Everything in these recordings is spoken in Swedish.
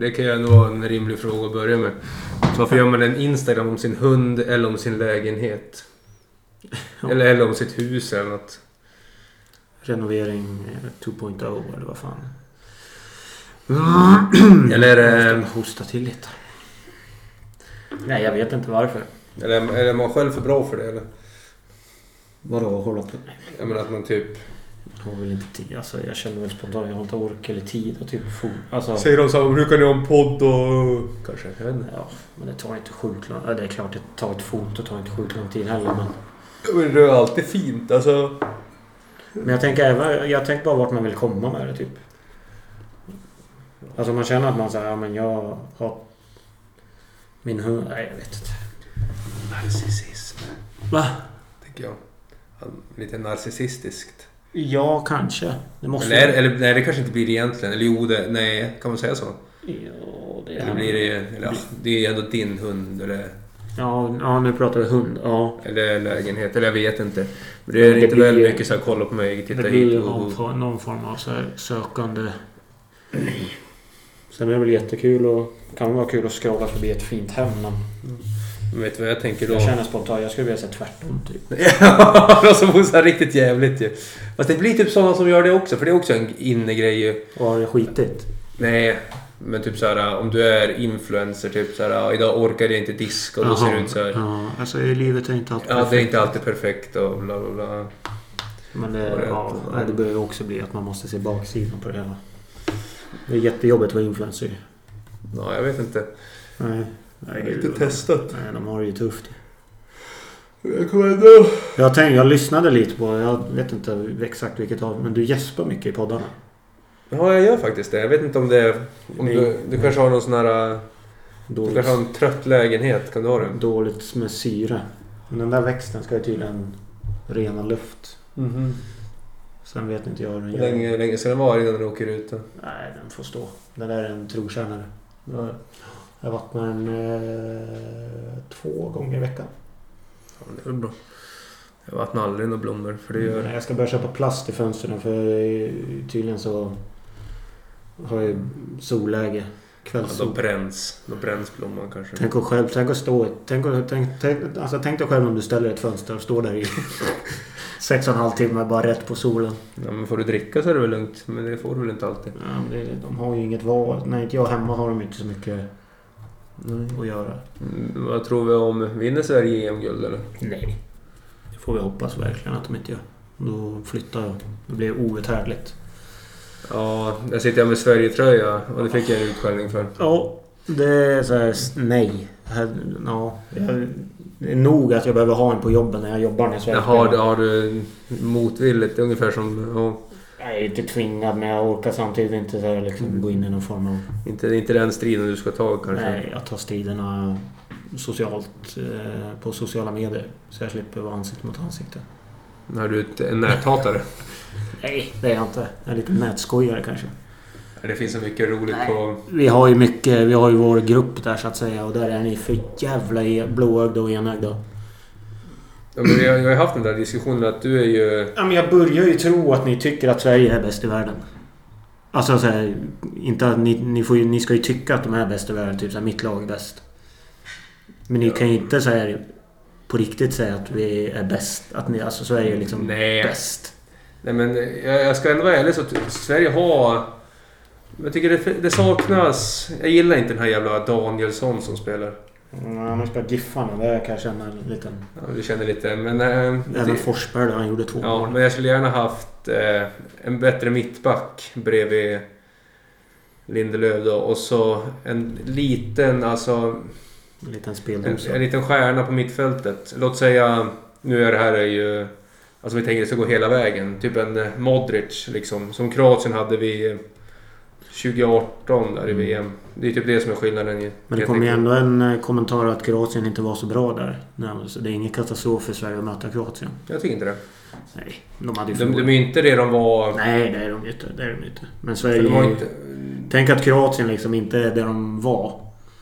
Det kan ju ändå vara en rimlig fråga att börja med. Varför gör man en Instagram om sin hund eller om sin lägenhet? Eller, eller om sitt hus eller något. Renovering eh, 2.0 eller vad fan. Eller är Jag det, ska hosta till lite. eh, Nej, jag vet inte varför. eller, eller är man själv för bra för det eller? Vadå hålla på? Jag menar att man typ... Jag har väl inte tid. Alltså, jag känner väl spontant jag har inte ork eller tid och typ for... Alltså... Säger de så här, brukar ni ha en podd och... Kanske, jag vet inte. Ja, men det tar inte sjukt lång... Ja, det är klart det tar ett foto tar inte sjukt lång tid heller men... Men det är alltid fint alltså. Men jag tänker, även- jag tänker bara vart man vill komma med det typ. Alltså om man känner att man säger, ja men jag har... Min hund... Nej jag vet inte. Narcissism, Va? tänker jag. Han- Lite narcissistiskt. Ja, kanske. Det måste... Eller, eller nej, det kanske inte blir det egentligen. Eller jo, det, nej, kan man säga så? Ja, det Eller blir det... Eller, ja, det är ju ändå din hund eller, Ja, ja, nu pratar vi hund. Ja. eller lägenhet. Eller jag vet inte. Men det är Men det inte blir väl ju- mycket så här, kolla på mig, Det titta blir hit. ju Och, och, någon, for- någon form av så här sökande... Sen är det väl jättekul och... Kan väl vara kul att scrolla förbi ett fint hem men... men vet du vad jag tänker då? Jag känner spontant, jag skulle vilja säga tvärtom typ. Ja, de som hostar riktigt jävligt ju. Fast det blir typ sådana som gör det också, för det är också en innegrej ju. Och har det skitigt? Nej, men typ såhär om du är influencer, typ såhär "Ja, idag orkar jag inte diska och då ser det ut såhär. Ja, alltså livet är inte alltid Ja, det är inte alltid perfekt och bla bla bla. Men Var det, det ja, rätt? nej, det börjar ju också bli att man måste se baksidan på det hela. Det är jättejobbigt att vara influencer. Ja, jag vet inte. Nej. Nej, gud. testat. Nej, de har det ju tufft. Jag kommer ändå... Jag, tänkte, jag lyssnade lite på, jag vet inte exakt vilket av, men du gäspar mycket i poddarna. Ja, jag gör faktiskt det. Jag vet inte om det är... Om du, du kanske har någon sån här... äh, Du Dåligt, kanske har en trött lägenhet, kan du ha det? dåligt med syre. Men den där växten ska ju tydligen rena luft. Mhm. Sen vet inte jag hur den Hur gör. länge, hur länge ska den vara innan den åker ut då? Nej, den får stå. Den där är en trotjänare. Jag- Jag vattnar den eh, två gånger i veckan. Ja, men det är väl bra. Jag vattnar aldrig några blommor, för det gör... Nej, Jag ska börja köpa plast i fönstren för eh, tydligen så har jag ju solläge. Ja, då Kvällssol. bränns. Då bränns blomman kanske. Tänk att själv, tänk att stå i- tänk, att- tänk, tänk, alltså tänk dig själv om du ställer ett fönster och står där i sex och en halv timme bara rätt på solen. Ja, men får du dricka så är det väl lugnt. Men det får du väl inte alltid. Ja, men det, de har ju inget val. Nej, inte jag hemma har de inte så mycket att göra. Mm, vad tror vi om... Vinner Sverige EM-guld eller? Nej. Det får vi hoppas verkligen att de inte gör. Då flyttar jag. Det blir outhärdligt. Ja, där sitter jag med Sverige-tröja och det fick jag en utskällning för. Ja, det är så här, s- nej. Här- Ja, jag, det är nog att jag behöver ha en på jobben när jag jobbar. När jag Jag svävar. har, har du motvilligt, det är ungefär som... Ja, Jag är inte tvingad men jag orkar samtidigt inte så här, liksom, gå in i någon form av... inte, inte den striden du ska ta kanske. Nej, jag tar striderna socialt eh, på sociala medier. Så jag slipper vara ansikte mot ansikte. När du är ett- en näthatare. Nej, det är jag inte. Jag är lite nätskojare kanske. det finns så mycket roligt Nej. på... Vi har ju mycket, vi har ju vår grupp där så att säga och där är ni för jävla e- blåögda och enögda. Ja, men vi har, jag har ju haft den där diskussionen att du är ju... Ja men jag börjar ju tro att ni tycker att Sverige är bäst i världen. Alltså så här, inte att ni, ni, får ju, ni ska ju tycka att de är bäst i världen, typ så här, mitt lag är bäst. Men ni kan ju inte så här, på riktigt säga att vi är bäst, att ni, alltså Sverige är liksom Nej. bäst. Nej men jag, jag ska ändå vara ärlig så att Sverige har... Jag tycker det, det saknas... Jag gillar inte den här jävla Danielsson som spelar. Nej, man ska giffa nu, det kan jag känna en liten... Ja, du känner lite, men... eh, Även det- Forsberg där, han gjorde två Ja, mål. men jag skulle gärna haft eh, en bättre mittback bredvid Lindelöf då. Och så en liten, alltså... En liten En, speldosa. en liten stjärna på mittfältet. Låt säga... Nu är det här är ju... Alltså vi tänker att det ska gå hela vägen. Typ en eh, Modric liksom. Som Kroatien hade vi eh, 2018 där i VM. Det är typ det som är skillnaden. i- Men det jag kom ju tänker. ändå en eh, kommentar att Kroatien inte var så bra där. Nej, så det är ingen katastrof för Sverige att möta Kroatien. Jag tycker inte det. Nej, de hade ju De, de förlorat. är ju inte det de var... Nej, det är de ju inte. Det är de ju inte. Men För Sverige... de var inte... Tänk att Kroatien liksom inte är där de var.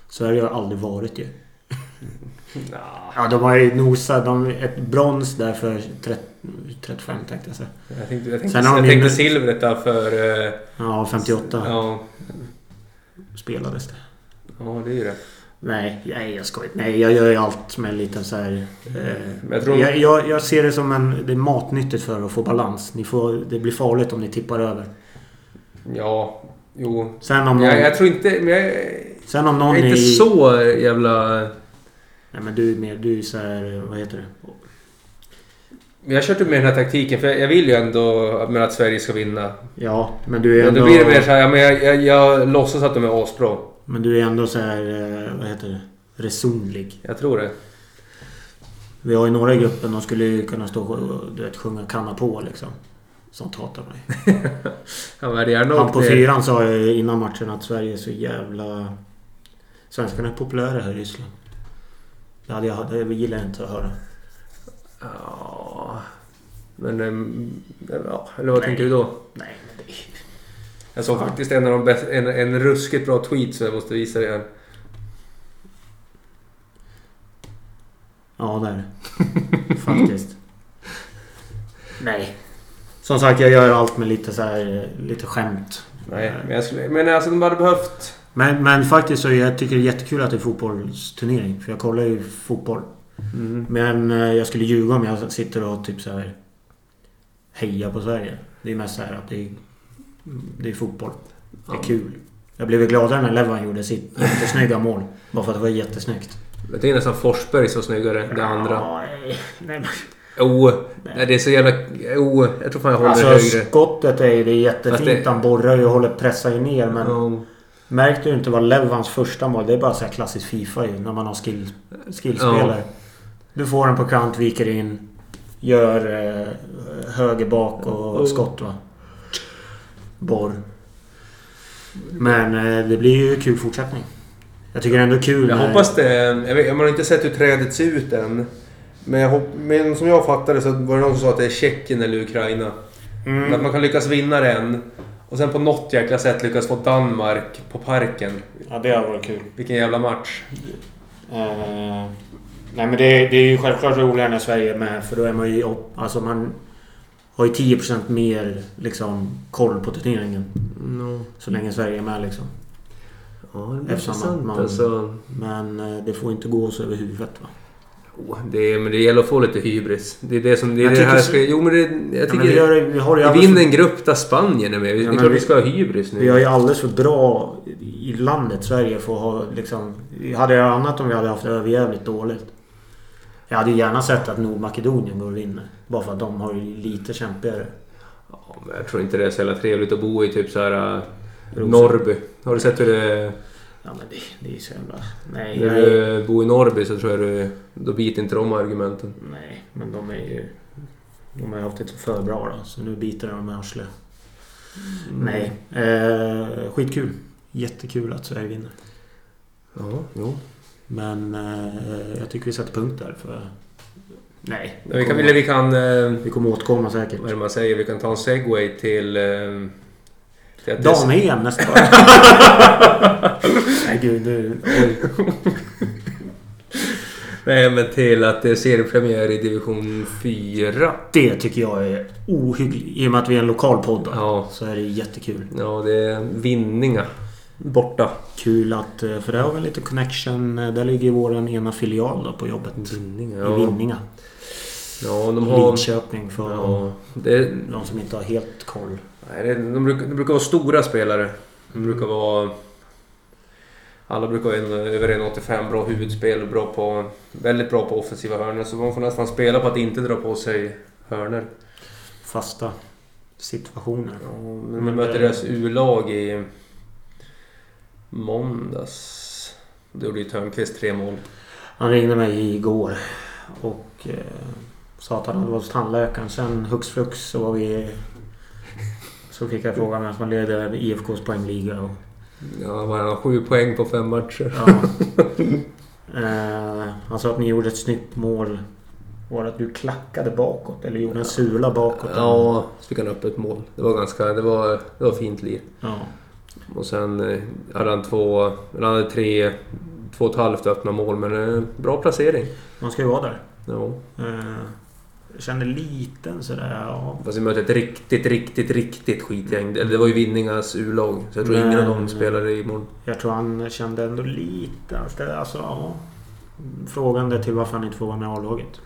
Sverige har aldrig varit ju. Nah, Ja, de har ju nosat. De, ett brons där för 30, 35 tänkte jag säga. jag tänkte, jag tänkte, Sen har jag de ju tänkte nu- silvret där för... eh, Ja, 58. Ja, spelades det. Ja, det är ju rätt. Nej, nej jag skojar. Nej, jag gör ju allt med en liten så här... Men Eh, jag jag, tror- jag, jag, ser det som en... Det är matnyttigt för att få balans. Ni får, det blir farligt om ni tippar över. Ja, jo. Sen om någon... Jag, jag tror inte... Men jag, sen om någon jag är inte i- så jävla... Nej men du är mer... Du är så här... Vad heter det? Men jag kör typ med den här taktiken för jag, jag vill ju ändå att- men att Sverige ska vinna. Ja, men du är Men ändå... då blir det mer såhär, ja, men jag, jag, jag låtsas att de är asbra. Men du är ändå så här... eh, Vad heter det? Resonlig. Jag tror det. Vi har ju några i gruppen. De skulle ju kunna stå och du vet, sjunga kanna på liksom. Sånt hatar man ju. Han var gärna Han på åkt ner. fyran sa ju innan matchen att Sverige är så jävla... Svenskarna är populära här i Ryssland. Det, hade jag, det gillar jag inte att höra. Ja... Men... ehm, Ja, eller vad Nej. tänker du då? Nej, men det... Jag såg Ja. faktiskt en av de bästa, en, en ruskigt bra tweet som jag måste visa dig här. Ja, där. Faktiskt. Nej. Som sagt, jag gör allt med lite så här, lite skämt. Nej, men, jag skulle, men alltså de hade behövt... Men, men faktiskt så jag tycker det är jättekul att det är fotbollsturnering. För jag kollar ju fotboll. Mm. Men eh, jag skulle ljuga om jag sitter och typ så här hejar på Sverige. Det är mest så här att det är, det är fotboll. Det är Ja. kul. Jag blev ju gladare när Levan gjorde sitt jättesnygga mål. Bara för att det var jättesnyggt. Jag tycker nästan Forsberg så snyggare, det andra. Ja, nej, nej, men- Jo, nej, det är så jävla... Jo, jag tror fan jag håller Alltså högre. skottet är ju det är jättefint. Fast det- Han borrar ju och håller pressar ju ner. Men Ja. märkte du inte vad Levans första mål? Det är bara så här klassiskt Fifa ju. När man har skill, skillspelare. Du får den på kant, viker in. Gör eh, höger bak och Mm. skott va. Borr. Men eh, det blir ju kul fortsättning. Jag tycker ändå kul Jag när- hoppas det. Jag vet, man har inte sett hur trädet ser ut än. Men, jag hopp, men som jag fattade så var det någon som sa att det är Tjeckien eller Ukraina. Men Att Mm. man kan lyckas vinna den. Och sen på något jäkla sätt lyckas få Danmark på parken. Ja, det hade varit kul. Vilken jävla match. Eh, nej men det, det är ju självklart roligare när Sverige är med för då är man ju upp, Alltså man har ju 10% mer liksom koll på turneringen. Så Mm. länge Sverige är med liksom. Ja, det blir intressant, alltså. Men eh, det får inte gå oss över huvudet va. Oh, det, är- men det gäller att få lite hybris. Det är det som... Det, är Jag det här tycker- ska, jo, men det, jag Ja, men vi, tycker... gör, vi, har ju vi vinner alldeles, en grupp där Spanien är med. Det är Ja, men klart vi vi- ska ha hybris nu. vi har ju alldeles för bra i landet Sverige för att ha liksom... vi Hade jag annat om vi hade haft det överjävligt dåligt. Jag hade ju gärna sett att Nordmakedonien går och vinner. Bara för att de har ju lite kämpigare. Ja, men jag tror inte det är så jävla trevligt att bo i typ så här... äh, Rosen. Norrby. Har du sett hur det... Ja men det, det är ju så jävla... Nej, När nej. du bor i Norrby så tror jag du... Då biter inte de argumenten. Nej, men de är ju... De har ju haft det för bra då, så nu biter de med arslet. Mm. Nej. Eh, skitkul. Jättekul att Sverige vinner. Ja, jo. Men eh, jag tycker vi sätter punkt där för... Nej. Men Vi kan... Eller vi kan eh, vi kommer återkomma vad är säkert. det man säger? Vi kan ta en segway till... eh, till att- Dam-EM nästa år. Nej gud, nu... Oj. Nej, men till att det är seriepremiär i division 4. Det tycker jag är ohyggligt. I och med att vi är en lokal podd då, Ja. så är det jättekul. Ja, det är Vinninga. Borta. Kul att... eh, För där har vi lite connection. eh, Där ligger ju vår ena filial då på jobbet. Vinninga, I Mm. ja. Vinninga. Ja, de har... Linköping för Ja, det, de som inte har helt koll. nej, det, de, brukar, de brukar vara stora spelare. De brukar vara... Alla brukar vara en, över 1,85, bra huvudspel och bra på, väldigt bra på offensiva hörnor. Så man får nästan spela på att inte dra på sig hörnor. Fasta situationer. Ja, men de mötte deras U-lag i måndags. Då gjorde ju Törnqvist tre mål. Han ringde mig igår och eh, sa att han hade varit hos tandläkaren. Sen hux flux så var vi... Så fick jag frågan vem som leder IFKs poängliga. Och, Ja, han har sju poäng på fem matcher. ja. eh, han sa att ni gjorde ett snyggt mål. Var det att du klackade bakåt? Eller gjorde en sula bakåt? Ja, så fick han upp ett mål. Det var ganska... Det var, det var fint lir. ja. Och sen eh, hade han två... Eller han hade tre... Två och ett halvt öppna mål, men eh, bra placering. Man ska ju vara där. Ja. Eh, Jag kände liten sådär, ja. Fast vi mötte ett riktigt, riktigt, riktigt skitgäng. Eller det var ju Vinningas U-lag. Så jag tror ingen av dem Men- spelar imorgon. Jag tror han kände ändå lite, alltså ja. Frågande till varför han inte får vara med i A-laget.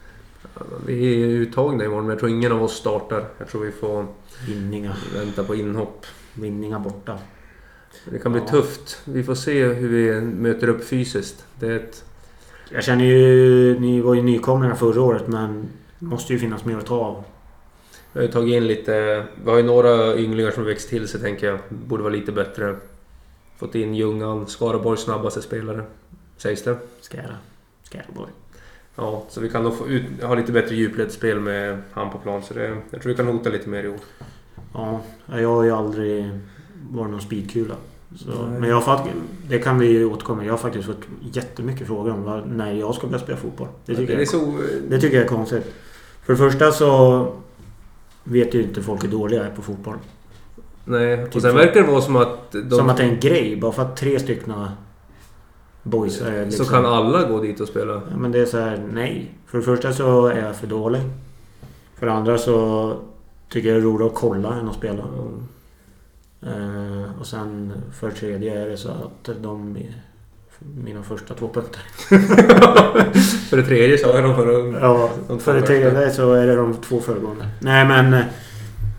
Vi är uttagna imorgon, men jag tror ingen av oss startar. Jag tror vi får Vinningar. vänta på inhopp. Vinningar borta. Det kan bli Ja. tufft. Vi får se hur vi möter upp fysiskt. Det är ett... Jag känner ju... Ni var ju nykomlingar förra året men... det Måste ju finnas mer att ta av. Vi har ju tagit in lite... Vi har ju några ynglingar som har växt till sig, tänker jag. Borde vara lite bättre. Fått in Ljungan, Skaraborgs snabbaste spelare. Sägs det. Skära. Skäraborg. Ja, så vi kan nog få ut, ha lite bättre djupledsspel med han på plan. Så det, jag tror vi kan hota lite mer i år. Ja, jag har ju aldrig varit någon speedkula. Så, Nej. men jag har fakt- det kan vi ju återkomma Jag har faktiskt fått jättemycket frågor om vad- när jag ska börja spela fotboll. Det tycker, är jag, så... det tycker jag är konstigt. För det första så vet ju inte folk hur dåliga jag är på fotboll. Nej, och Typ sen så. verkar det vara som att... De, Som att det är en grej. Bara för att tre stycken boys är liksom... Så kan alla gå dit och spela. Ja, men det är så här, nej. För det första så är jag för dålig. För det andra så tycker jag det är roligare att kolla än att spela. Eh, och sen för det tredje är det så att de... Mina första två punkter. För det tredje sa jag nog förra Ja, De två för det värsta. tredje så är det de två föregående. Nej men... eh,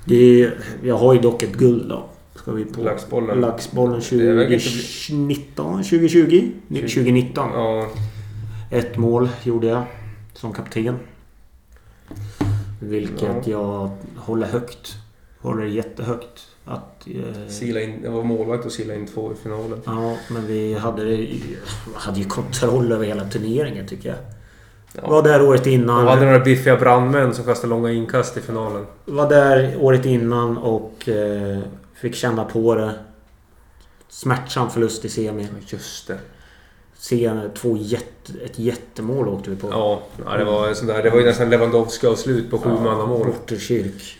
Det är, ju- jag har ju dock ett guld då. Ska vi på... Laxbollen. Laxbollen Det verkar inte 2019? 2020? 2019. Ja, Ett mål gjorde jag som kapten. Vilket jag håller högt. Håller jättehögt. Att, eh, sila in, jag var målvakt och sila in två i finalen. ja, men vi hade, i- hade ju kontroll över hela turneringen tycker jag. Ja. Var där året De innan. hade några biffiga brandmän som kastade långa inkast i finalen. Var där året innan och eh, fick känna på det. Smärtsam förlust i semi. Just det. Sen, två jätte, ett jättemål åkte vi på. Ja, ja, det var en sån där. Det var ju nästan Lewandowski-avslut på sjumannamål. Orterkyrk.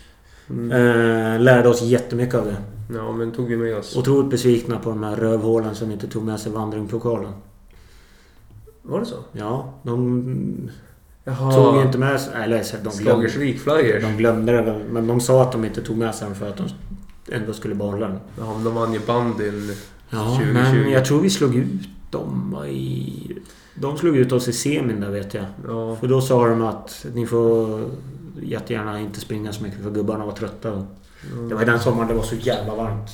Mm. Eh, lärde oss jättemycket av det. Ja, men tog vi med oss. Otroligt besvikna på de här rövhålen som inte tog med sig vandringspokalen. Var det så? Ja, de Jaha. tog ju inte med sig... Eller så- de glömde, Slagersvik Flyers. de glömde det väl. Men de sa att de inte tog med sig den för att de ändå skulle behålla den. Ja, men de vann ju bandyn. Ja, 2020. men jag tror vi slog ut dem va, i... De slog ut oss i semin där vet jag. Ja. För då sa de att ni får jättegärna inte springa så mycket för gubbarna var trötta. Det var ju den sommaren det var så jävla varmt.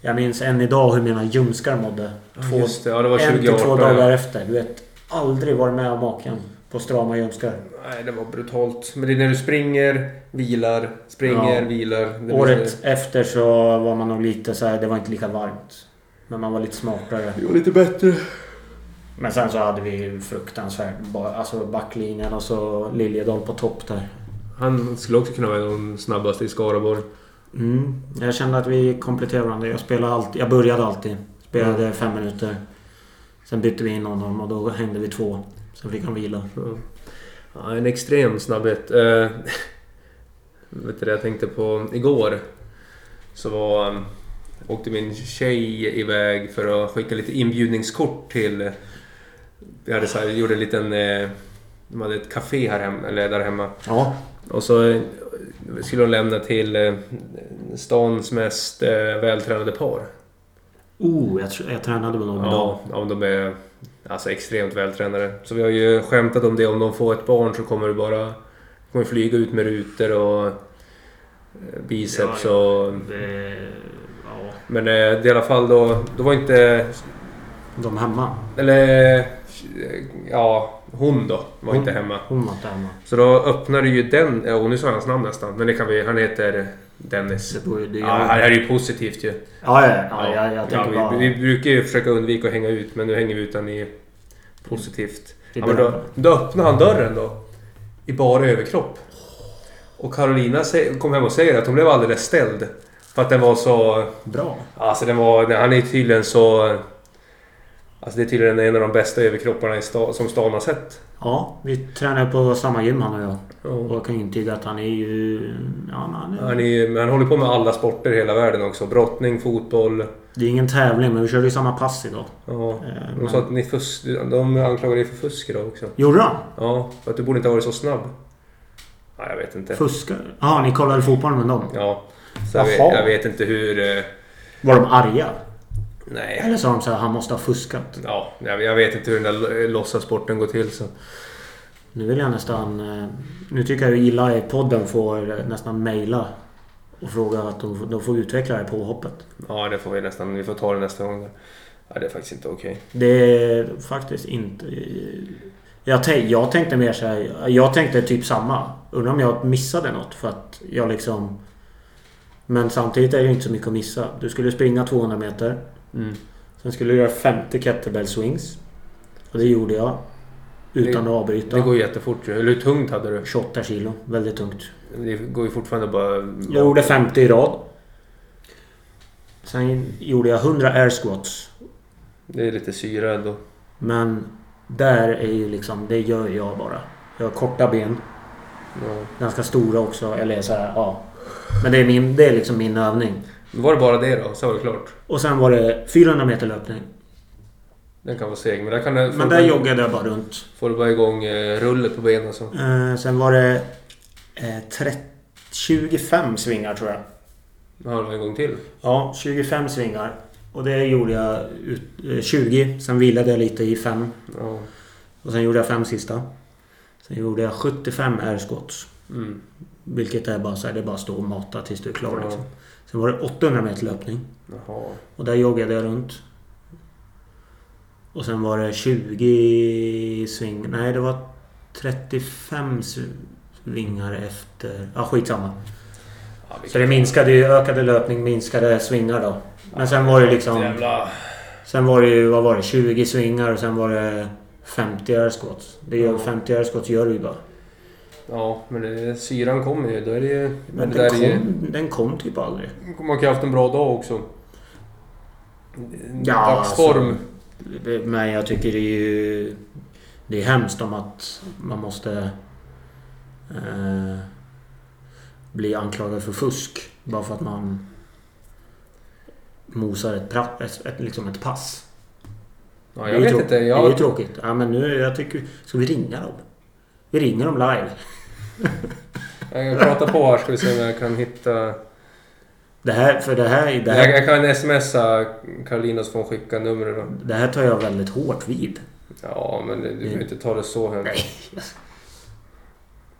Jag minns än idag hur mina ljumskar mådde. Ja, Två just det. Ja, det var en till två 2018. dagar ja. efter. Du vet, aldrig varit med om maken på strama ljumskar. Nej, det var brutalt. Men det är när du springer, vilar, springer, Ja. vilar. Det Året efter så var man nog lite så här, det var inte lika varmt. Men man var lite smartare. var lite bättre. Men sen så hade vi ju fruktansvärt, ba- alltså backlinjen och så Liljedahl på topp där. Han skulle också kunna vara den snabbaste i Skaraborg. Mm. Jag kände att vi kompletterade varandra. Jag, spelade alltid, jag började alltid. Spelade Mm. fem minuter. Sen bytte vi in honom och då hängde vi två. Sen fick han vila. Ja. Ja, en extrem snabbhet. Eh, vet du det jag tänkte på igår? Så var, eh, åkte min tjej iväg för att skicka lite inbjudningskort till... Vi hade så här, gjorde en liten... eh, De hade ett café här hemma, eller där hemma. Ja. Och så eh, skulle hon lämna till eh, stans mest eh, vältränade par. Oh, jag, tr- jag tränade med någon idag. Ja, ja, de är alltså extremt vältränade. Så vi har ju skämtat om det. Om de får ett barn så kommer det bara kommer flyga ut med rutor och eh, biceps Ja, och... Eh, ja. Men eh, det är i alla fall då... Då var inte... De hemma. Eller... eh, Ja, hon då var inte hemma. Hon var inte hemma. Så då öppnade ju den... ja, Och nu sa jag hans namn nästan. Men det kan vi... Han heter Dennis. Det borde, ju- det, Ja, jag, det ja, här är ju positivt ju. ja, ja, ja, jag, jag tänker Ja, bara... vi, vi brukar ju försöka undvika att hänga ut, men nu hänger vi ut den i positivt. Det Ja, är men bra. då, då öppnar han dörren då. I bara överkropp. Och Carolina sä- kom hem och säger att hon blev alldeles ställd. För att den var så... Bra. Alltså den var... den- Han är tydligen så... Alltså det är tydligen en av de bästa överkropparna i sta, som stan har sett. Ja, vi tränade på samma gym han och jag. Och Och jag kan intyga att han är ju... Ja, men han är, Han, är, ju- men han håller på med alla sporter i hela världen också. Brottning, fotboll. Det är ingen tävling, men vi körde ju samma pass idag. Ja. Eh, De sa att ni fusk, de anklagade dig för fusk idag också. Gjorde han? Ja, för att du borde inte ha varit så snabb. Ja, jag vet inte. Fuskar? Jaha, ni kollade fotbollen med dem? Ja. Så jag, vet, Jaha. jag vet inte hur... eh, Var de arga? Nej. Eller sa de så här, han måste ha fuskat? Ja, jag, jag vet inte hur den där eh, låtsasporten går till. Så. Nu vill jag nästan... eh, Nu tycker jag ju illa i podden får eh, nästan mejla och fråga att de, får- de får utveckla det här påhoppet. Ja, det får vi nästan... Vi får ta det nästa gång. Där. Ja, det är faktiskt inte okej. Det är faktiskt inte... eh, Jag, tän- jag tänkte mer så här, Jag tänkte typ samma. Undrar om jag missade något för att jag liksom... Men samtidigt är det inte så mycket att missa. Du skulle springa 200 meter. Mm. Sen skulle du göra 50 kettlebell swings. Och det gjorde jag. Utan att avbryta. Det går ju jättefort. ju. Eller hur tungt hade du? 28 kilo. Väldigt tungt. Det går ju fortfarande bara... Jag gjorde 50 i rad. Sen gjorde jag 100 air squats. Det är lite syra ändå. Men där är ju liksom, det gör jag bara. Jag har korta ben. Ja. Ganska stora också. Eller så här, ja. Men det är, min, det är liksom min övning. Var det bara det då? Så var det klart. Och sen var det 400 meter löpning. Den kan vara seg, men där kan du... Men där joggade jag bara runt. Får du bara igång eh, rullet på benen så. Eh, sen var det eh, 30, 25 svingar tror jag. Då har du en gång till. Ja, 25 svingar. Och det gjorde jag ut, eh, 20. Sen vilade jag lite i 5. Ja. Och sen gjorde jag fem sista. Sen gjorde jag 75 airskots. Mm. Vilket är bara så här, det är bara att stå och mata tills du är klar. Ja. Liksom. Sen var det 800 meter löpning. Jaha. Och där joggade jag runt. Och sen var det 20 sving... Nej, det var 35 svingar efter... Ja, skitsamma. Ja, vilket- Så det minskade ju, ökade löpning, minskade svingar då. Men sen var det liksom... Jävla... Sen var det ju, vad var det, 20 svingar och sen var det 50 airskots. Det gör, Ja. 50 airskots gör du ju bara. Ja, men det, syran kommer ju. Då är det ju... Men det där den är ju- kom, den kom typ aldrig. Man kan ju ha haft en bra dag också. Ja, Dagsform. alltså, men jag tycker det är ju... Det är hemskt om att man måste... Eh, bli anklagad för fusk. Bara för att man... Mosar ett, pra, ett, ett, liksom ett pass. ja, Det är jag ju vet trå- inte. Det är ju Jag, tråkigt. Ja, men nu, jag tycker... Ska vi ringa dem? Vi ringer dem live. jag pratar på här ska vi se om jag kan hitta... Det här, för det här... Det Jag, här, jag kan smsa Karolina så får hon skicka numret då. det här tar jag väldigt hårt vid. Ja, men det- du behöver inte ta det så Nej. högt.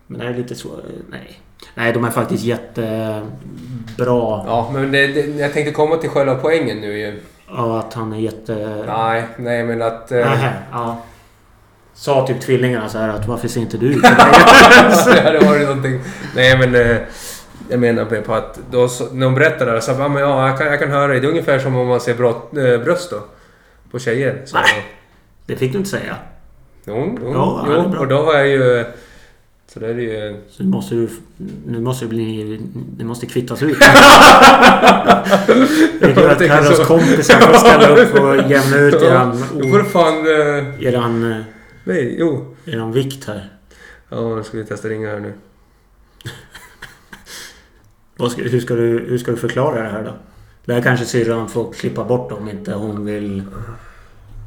Men det är lite så... Nej. Nej, de är faktiskt jättebra. Ja, men det, det, jag tänkte komma till själva poängen nu ju. Ja, att han är jätte... Nej, nej men att... eh, Nähä, ja. Sa typ tvillingarna så här att varför ser inte du ut? det hade varit någonting. Nej men... eh, Jag menar mer på att då, så- när hon berättade det här så jag bara, "Ja, men ja, jag kan, jag kan höra dig. Det är ungefär som om man ser brott, eh, bröst då. På tjejer. Så, Nej. det fick du inte säga. jo, jo, Ja, det är jo. bra. Och då var jag ju... Så där är det ju... Så nu måste du... Nu måste du bli... Det måste kvittas ut. Det är kul Jag att tänker så. Carros kompisar får ställa upp och jämna ut eran... Då får du o- fan... eh, Eran... eh, Nej, jo. Eran vikt här. Ja, nu ska vi testa ringa här nu. Vad ska, hur, ska du, hur ska du förklara det här då? Det här kanske syrran får klippa bort om inte hon vill...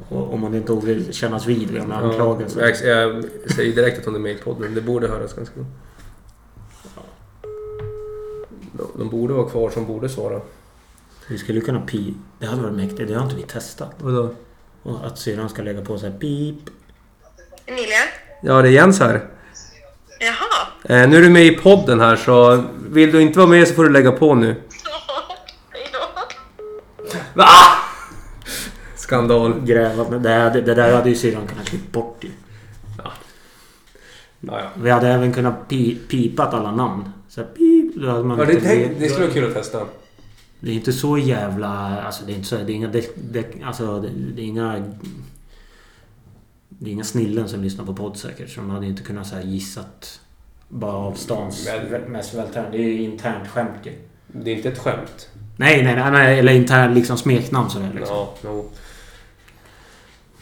Om hon inte vill kännas vid vid en anklagelse. Ja, jag, jag säger direkt att hon är med i podden. Det borde höras ganska bra. De- De borde vara kvar som borde svara. Vi skulle kunna pi... Det hade varit mäktigt. Det har inte vi testat. Vadå? Och att syrran ska lägga på så här pip. Emilia? Ja, det är Jens här. Jaha. Eh, nu är du med i podden här så vill du inte vara med så får du lägga på nu. Ja. Va? Skandal. Gräva. Men Det, här, det, det där hade ju syrran kunnat klippa bort ju. Ja, ja. Vi hade även kunnat pi, pipat alla namn. Så här, pip. Då hade man ja det, inte tänk, blivit- det skulle vara kul att testa. Det är inte så jävla... Alltså det är inte så... Det är inga... Det, det, alltså det, det är inga... Det är inga snillen som lyssnar på podd säkert. Så de hade inte kunnat så här gissat... Bara av stans Men- mest vältränade. Det är ju internt skämt ju. Det är inte ett skämt. Nej, nej, nej, nej. Eller internt liksom smeknamn sådär liksom. Ja, jo.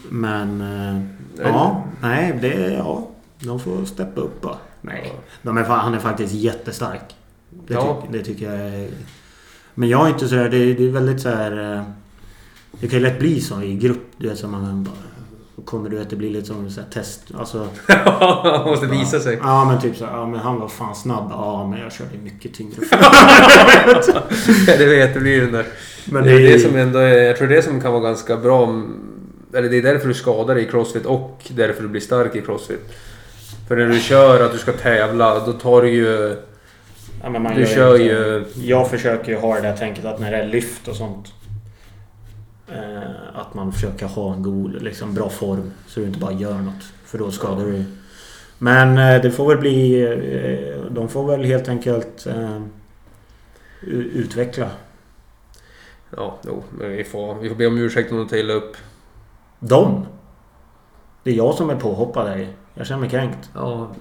Men... eh, ja. Nej, det... Ja. De får steppa upp bara. Nej. De är, fa- han är faktiskt jättestark. Det, Ja. tyck, det tycker jag är... Men jag är inte sådär... Det, det är väldigt så här. eh, Det kan ju lätt bli så i grupp. Du vet, så man bara... Då kommer du att det blir lite som så här test. Alltså, Han måste visa sig. Ja, men typ så här, ja men han var fan snabb. Ja, men jag körde mycket tyngre. Ja, det vet, det blir den där. Men det är det är- det som ändå är, jag tror det som kan vara ganska bra. om- Eller det är därför du skadar dig i crossfit och därför du blir stark i crossfit. För när du kör att du ska tävla, då tar du ju... Ja, men man Du gör ju kör inte- ju- Jag försöker ju ha det där tänket att när det är lyft och sånt. Eh, att man försöker ha en god, liksom bra form. Så du inte bara gör något. För då skadar du dig. Men eh, det får väl bli... Eh, de får väl helt enkelt eh, u- utveckla. Ja, jo, men vi får, vi får be om ursäkt om de tar illa upp. Dem! Det är jag som är påhoppad här. Jag känner mig kränkt. Ja.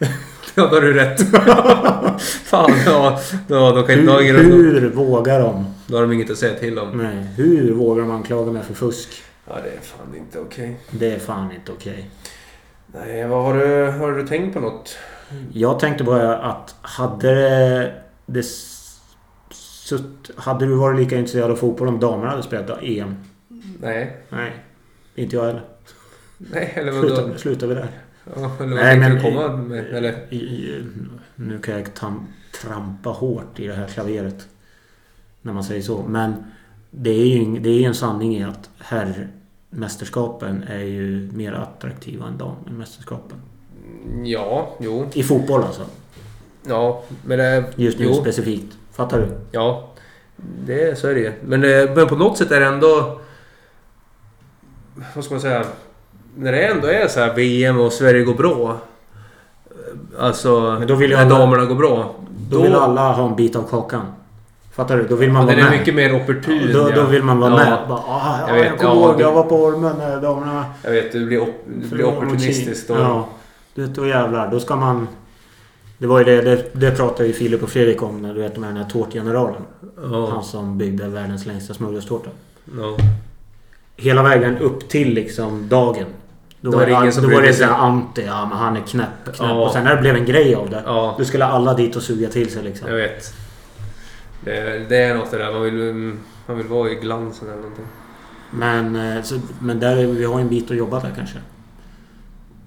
ja, då har du rätt. Fan, ja. Då, då, kan, då, har Hur, ingen- hur vågar de? då har de inget att säga till om. Nej, hur vågar de anklaga mig för fusk? Ja, det är fan inte okej. Det är fan inte okej. Nej, vad har du, har du tänkt på något? Jag tänkte bara att hade det- det... s- sutt- Hade du varit lika intresserad av fotboll om damerna hade spelat EM? Nej. Nej. Inte jag heller. Nej, eller vadå? Slutar, slutar vi där. Ja, eller vad Nej, tänkte men- du komma med? Eller? I, i, nu kan jag tam, trampa hårt i det här klaveret. När man säger så. Men det är ju ing- det är ju en sanning i att herrmästerskapen är ju mer attraktiva än dammästerskapen. Ja, jo. I fotboll alltså. Ja, men det... Just nu jo, specifikt. Fattar du? Ja. Det, så är det ju. Men, eh, men på något sätt är det ändå... Vad ska man säga? När det ändå är så här VM och Sverige går bra. eh, Alltså, Men då vill ju när alla- damerna går bra. Då, vill alla ha en bit av kakan. Fattar du? Då vill man Ja, vara Den är med. mycket mer opportun. då, då ja. vill man vara ja, med. Bara, ah, Jag jag, vet, jag kommer ja, ihåg, det- jag var på Ormen när damerna... Jag vet, du blir, op- du blir opportunistisk då. Ja. Du vet, då jävlar. Då ska man... Det var ju det, det, det pratade ju Filip och Fredrik om när du vet med den här tårtgeneralen. Han Ja. som byggde världens längsta smörgåstårta. ja. Hela vägen upp till liksom dagen. Då, var det, ingen an- som då var brydde det sig. såhär anti. Ja men han är knäpp. knäpp. Ja. Och sen när det blev en grej av det. Ja. Då skulle alla dit och suga till sig liksom. Jag vet. Det, det är något det där. Man vill, mm, man vill vara i glansen eller någonting. Men, eh, så, men där, är- vi har en bit att jobba där kanske.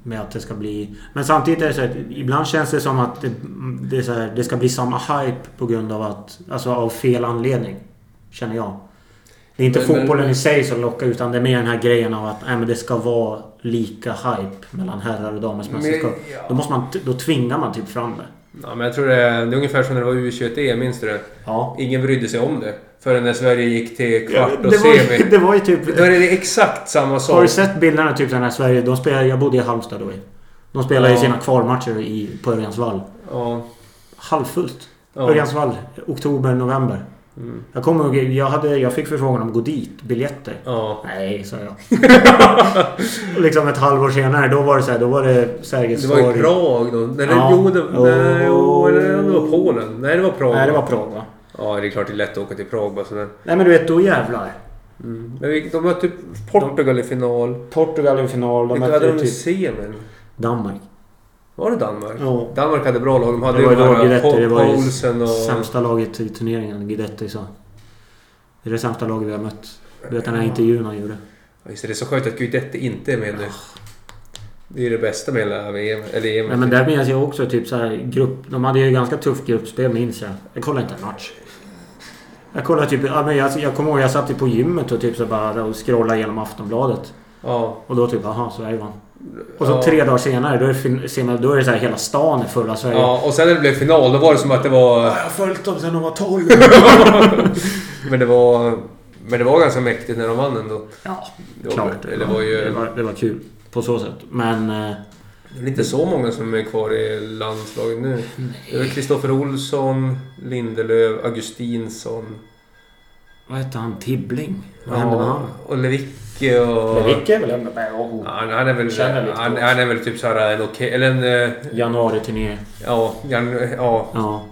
Med att det ska bli... Men samtidigt är det så här, ibland känns det som att det, det, är så här, det ska bli samma hype på grund av att... Alltså av fel anledning. Känner jag. Det är inte Men- men- fotbollen i sig som lockar utan det är mer den här grejen av att nej, men det ska vara lika hype mellan herrar och damers Men- mästerskap. ja. Då, måste man, t- då tvingar man typ fram det. Ja, men jag tror det är, det är ungefär som när det var U21-EM, minns du det? Ja. Ingen brydde sig om det. Förrän när Sverige gick till kvart Det och var, ju, semi. det var ju typ... Då är det exakt samma sak. Har du sett bilderna typ den här Sverige? De spelar, jag bodde i Halmstad då. De spelar ju Ja. sina kvalmatcher i, på Örjansvall. Ja. Halvfullt. Ja. Örjansvall. Oktober, november. Mm. Jag kommer ihåg, jag, hade, jag fick förfrågan om att gå dit. Biljetter. ja. Nej, sa jag. liksom ett halvår senare, då var det så här, då var det Sergels Det var ju torg. Prag då. Nej, Ja. jo, det, nej, jo, Oh. eller det var Polen. Nej, det var Prag. Nej, det var Prag va? Ja, det är klart det är lätt att åka till Prag bara sådär. Nej men du vet, då jävlar. Mm. Men vi, de mötte typ Portugal i final. Portugal i final. De Vilka hade de mötte i typ semin? Danmark. Var det Danmark? Ja. Danmark hade bra lag. De hade Det var ju ju de då här Guidetti. Det var ju Poulsen och... sämsta laget i turneringen. Guidetti sa. Det är det sämsta laget vi har mött. Du vet den här intervjun han gjorde. Ja, Just det, det är så skönt att Guidetti inte är med nu. Det är ju det bästa med hela VM. Eller EM. Ah. Nej, men där minns jag också typ så här grupp... De hade ju ganska tufft gruppspel minns jag. Jag kollade inte en match. Jag kollade typ... Ja, men jag, jag kommer ihåg jag satt ju på gymmet och typ så bara och scrollade igenom Aftonbladet. Ja. Och då typ aha, Sverige vann. Och så Ja. tre dagar senare då är det, fin- senare, då är det så här hela stan är fulla Sverige. ja. Och sen när det blev final, då var det som att det var... Jag har följt dem sedan de var 12. Men det var... Men det var ganska mäktigt när de vann ändå. ja, Det var- klart. det var ju- det, var, det var kul. På så sätt. Men... eh, Det är väl inte så många som är kvar i landslaget nu. Det var Kristoffer Olsson, Lindelöf, Augustinsson. Vad hette han? Tibbling? Vad hände med Ja, han? och Lewicki och... Lewicki är väl ändå med? Ja, Han, han, är väl, eh, Känner lite han, på. han är väl typ såhär en okej... eller en... eh, Januari-turné. Ja, Jan, ja, Ja.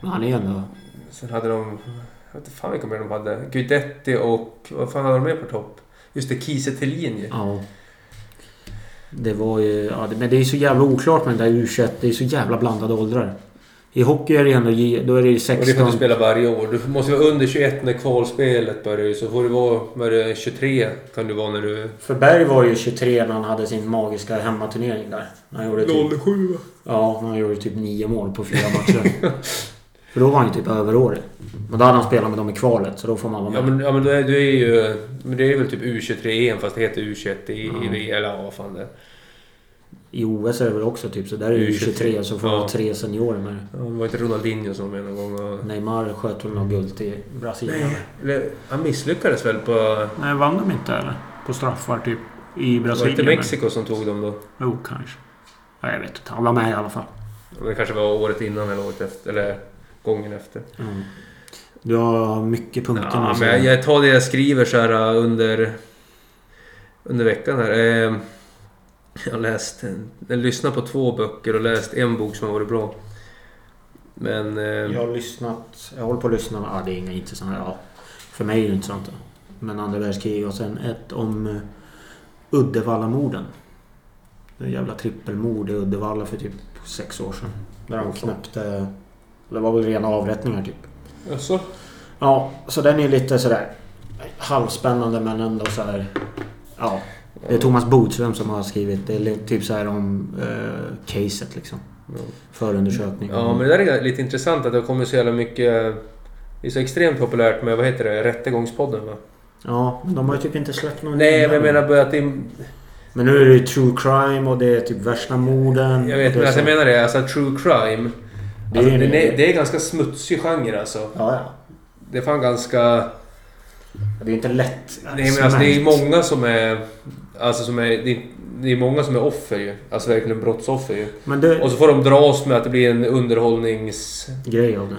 Men han är ändå... Sen hade de... Jag vet inte fan vilka mer de hade. Guidetti och... Vad fan hade de mer på topp? Just det, Kiese Thelin ju. Ja. Det var ju... Ja, det, men det är så jävla oklart med den där u det är så jävla blandade åldrar. I hockey är det ju ändå J- då är det ju 16... Och det får du spela varje år. Du måste vara under 21 när kvalspelet börjar ju. Så får du vara... Vad är det? 23 kan du vara när du... För Berg var ju 23 när han hade sin magiska hemmaturnering där. När han gjorde typ, 07 va? ja, när han gjorde typ nio mål på fyra matcher. För då var han ju typ överårig. Men då hade han spelat med dem i kvalet, så då får man vara Ja med. men, ja, men du, är, du är ju... Men det är väl typ U23-EM fast det heter U21 i, i V- Eller ja, vad fan det är. I OS är det väl också typ så. Där är det ju 23 så får man Ja. ha tre seniorer med. Ja, det var inte Ronaldinho som var med någon gång? Och... Neymar sköt väl något guld till Brasilien? Nej. Eller, han misslyckades väl på... Nej, vann de inte eller? På straffar typ. I Var det Brasilien? inte Mexiko som tog dem då? men- Jo, kanske. Ja, jag vet inte. Han var med i alla fall. Men Det kanske var året innan eller året efter. Eller gången efter. Mm. Du har mycket punkter Ja, nu. så- men jag, jag tar det jag skriver så här äh, under, under veckan här. Eh, Jag har läst... en- Jag lyssnat på två böcker och läst en bok som har varit bra. Men... eh, Jag har lyssnat. Jag håller på att lyssna. Ja, det är inga intressanta. Ja, för mig är det intressant. då. Men andra världskriget och sen ett om eh, Uddevallamorden. Det jävla trippelmord i Uddevalla för typ sex år sedan. Där de knäppte... Det var väl rena avrättningar typ. Jaså? Ja, så den är lite sådär halvspännande men ändå så här. Ja. Det är Thomas Bodström som har skrivit. Det är li- typ så här om eh, caset liksom. Ja. Förundersökningen. Ja, men det där är lite intressant att det har kommit så jävla mycket... eh, Det är så extremt populärt med, vad heter det, Rättegångspodden va? Ja, men de har ju typ inte släppt någon Nej, men innan. jag menar bara att det... Men nu är det ju true crime och det är typ värsta morden. Jag vet det är men alltså, jag så- menar det, alltså true crime. Det Alltså, är det, ju- det, det är ganska smutsig genre alltså. Ja, ja. Det är fan ganska... Det är ju inte lätt. Nej men alltså det är många som är... Alltså som är... Det är, det är många som är offer ju. Alltså verkligen brottsoffer ju. Men det... Och så får de dras med att det blir en underhållnings... Grej av det.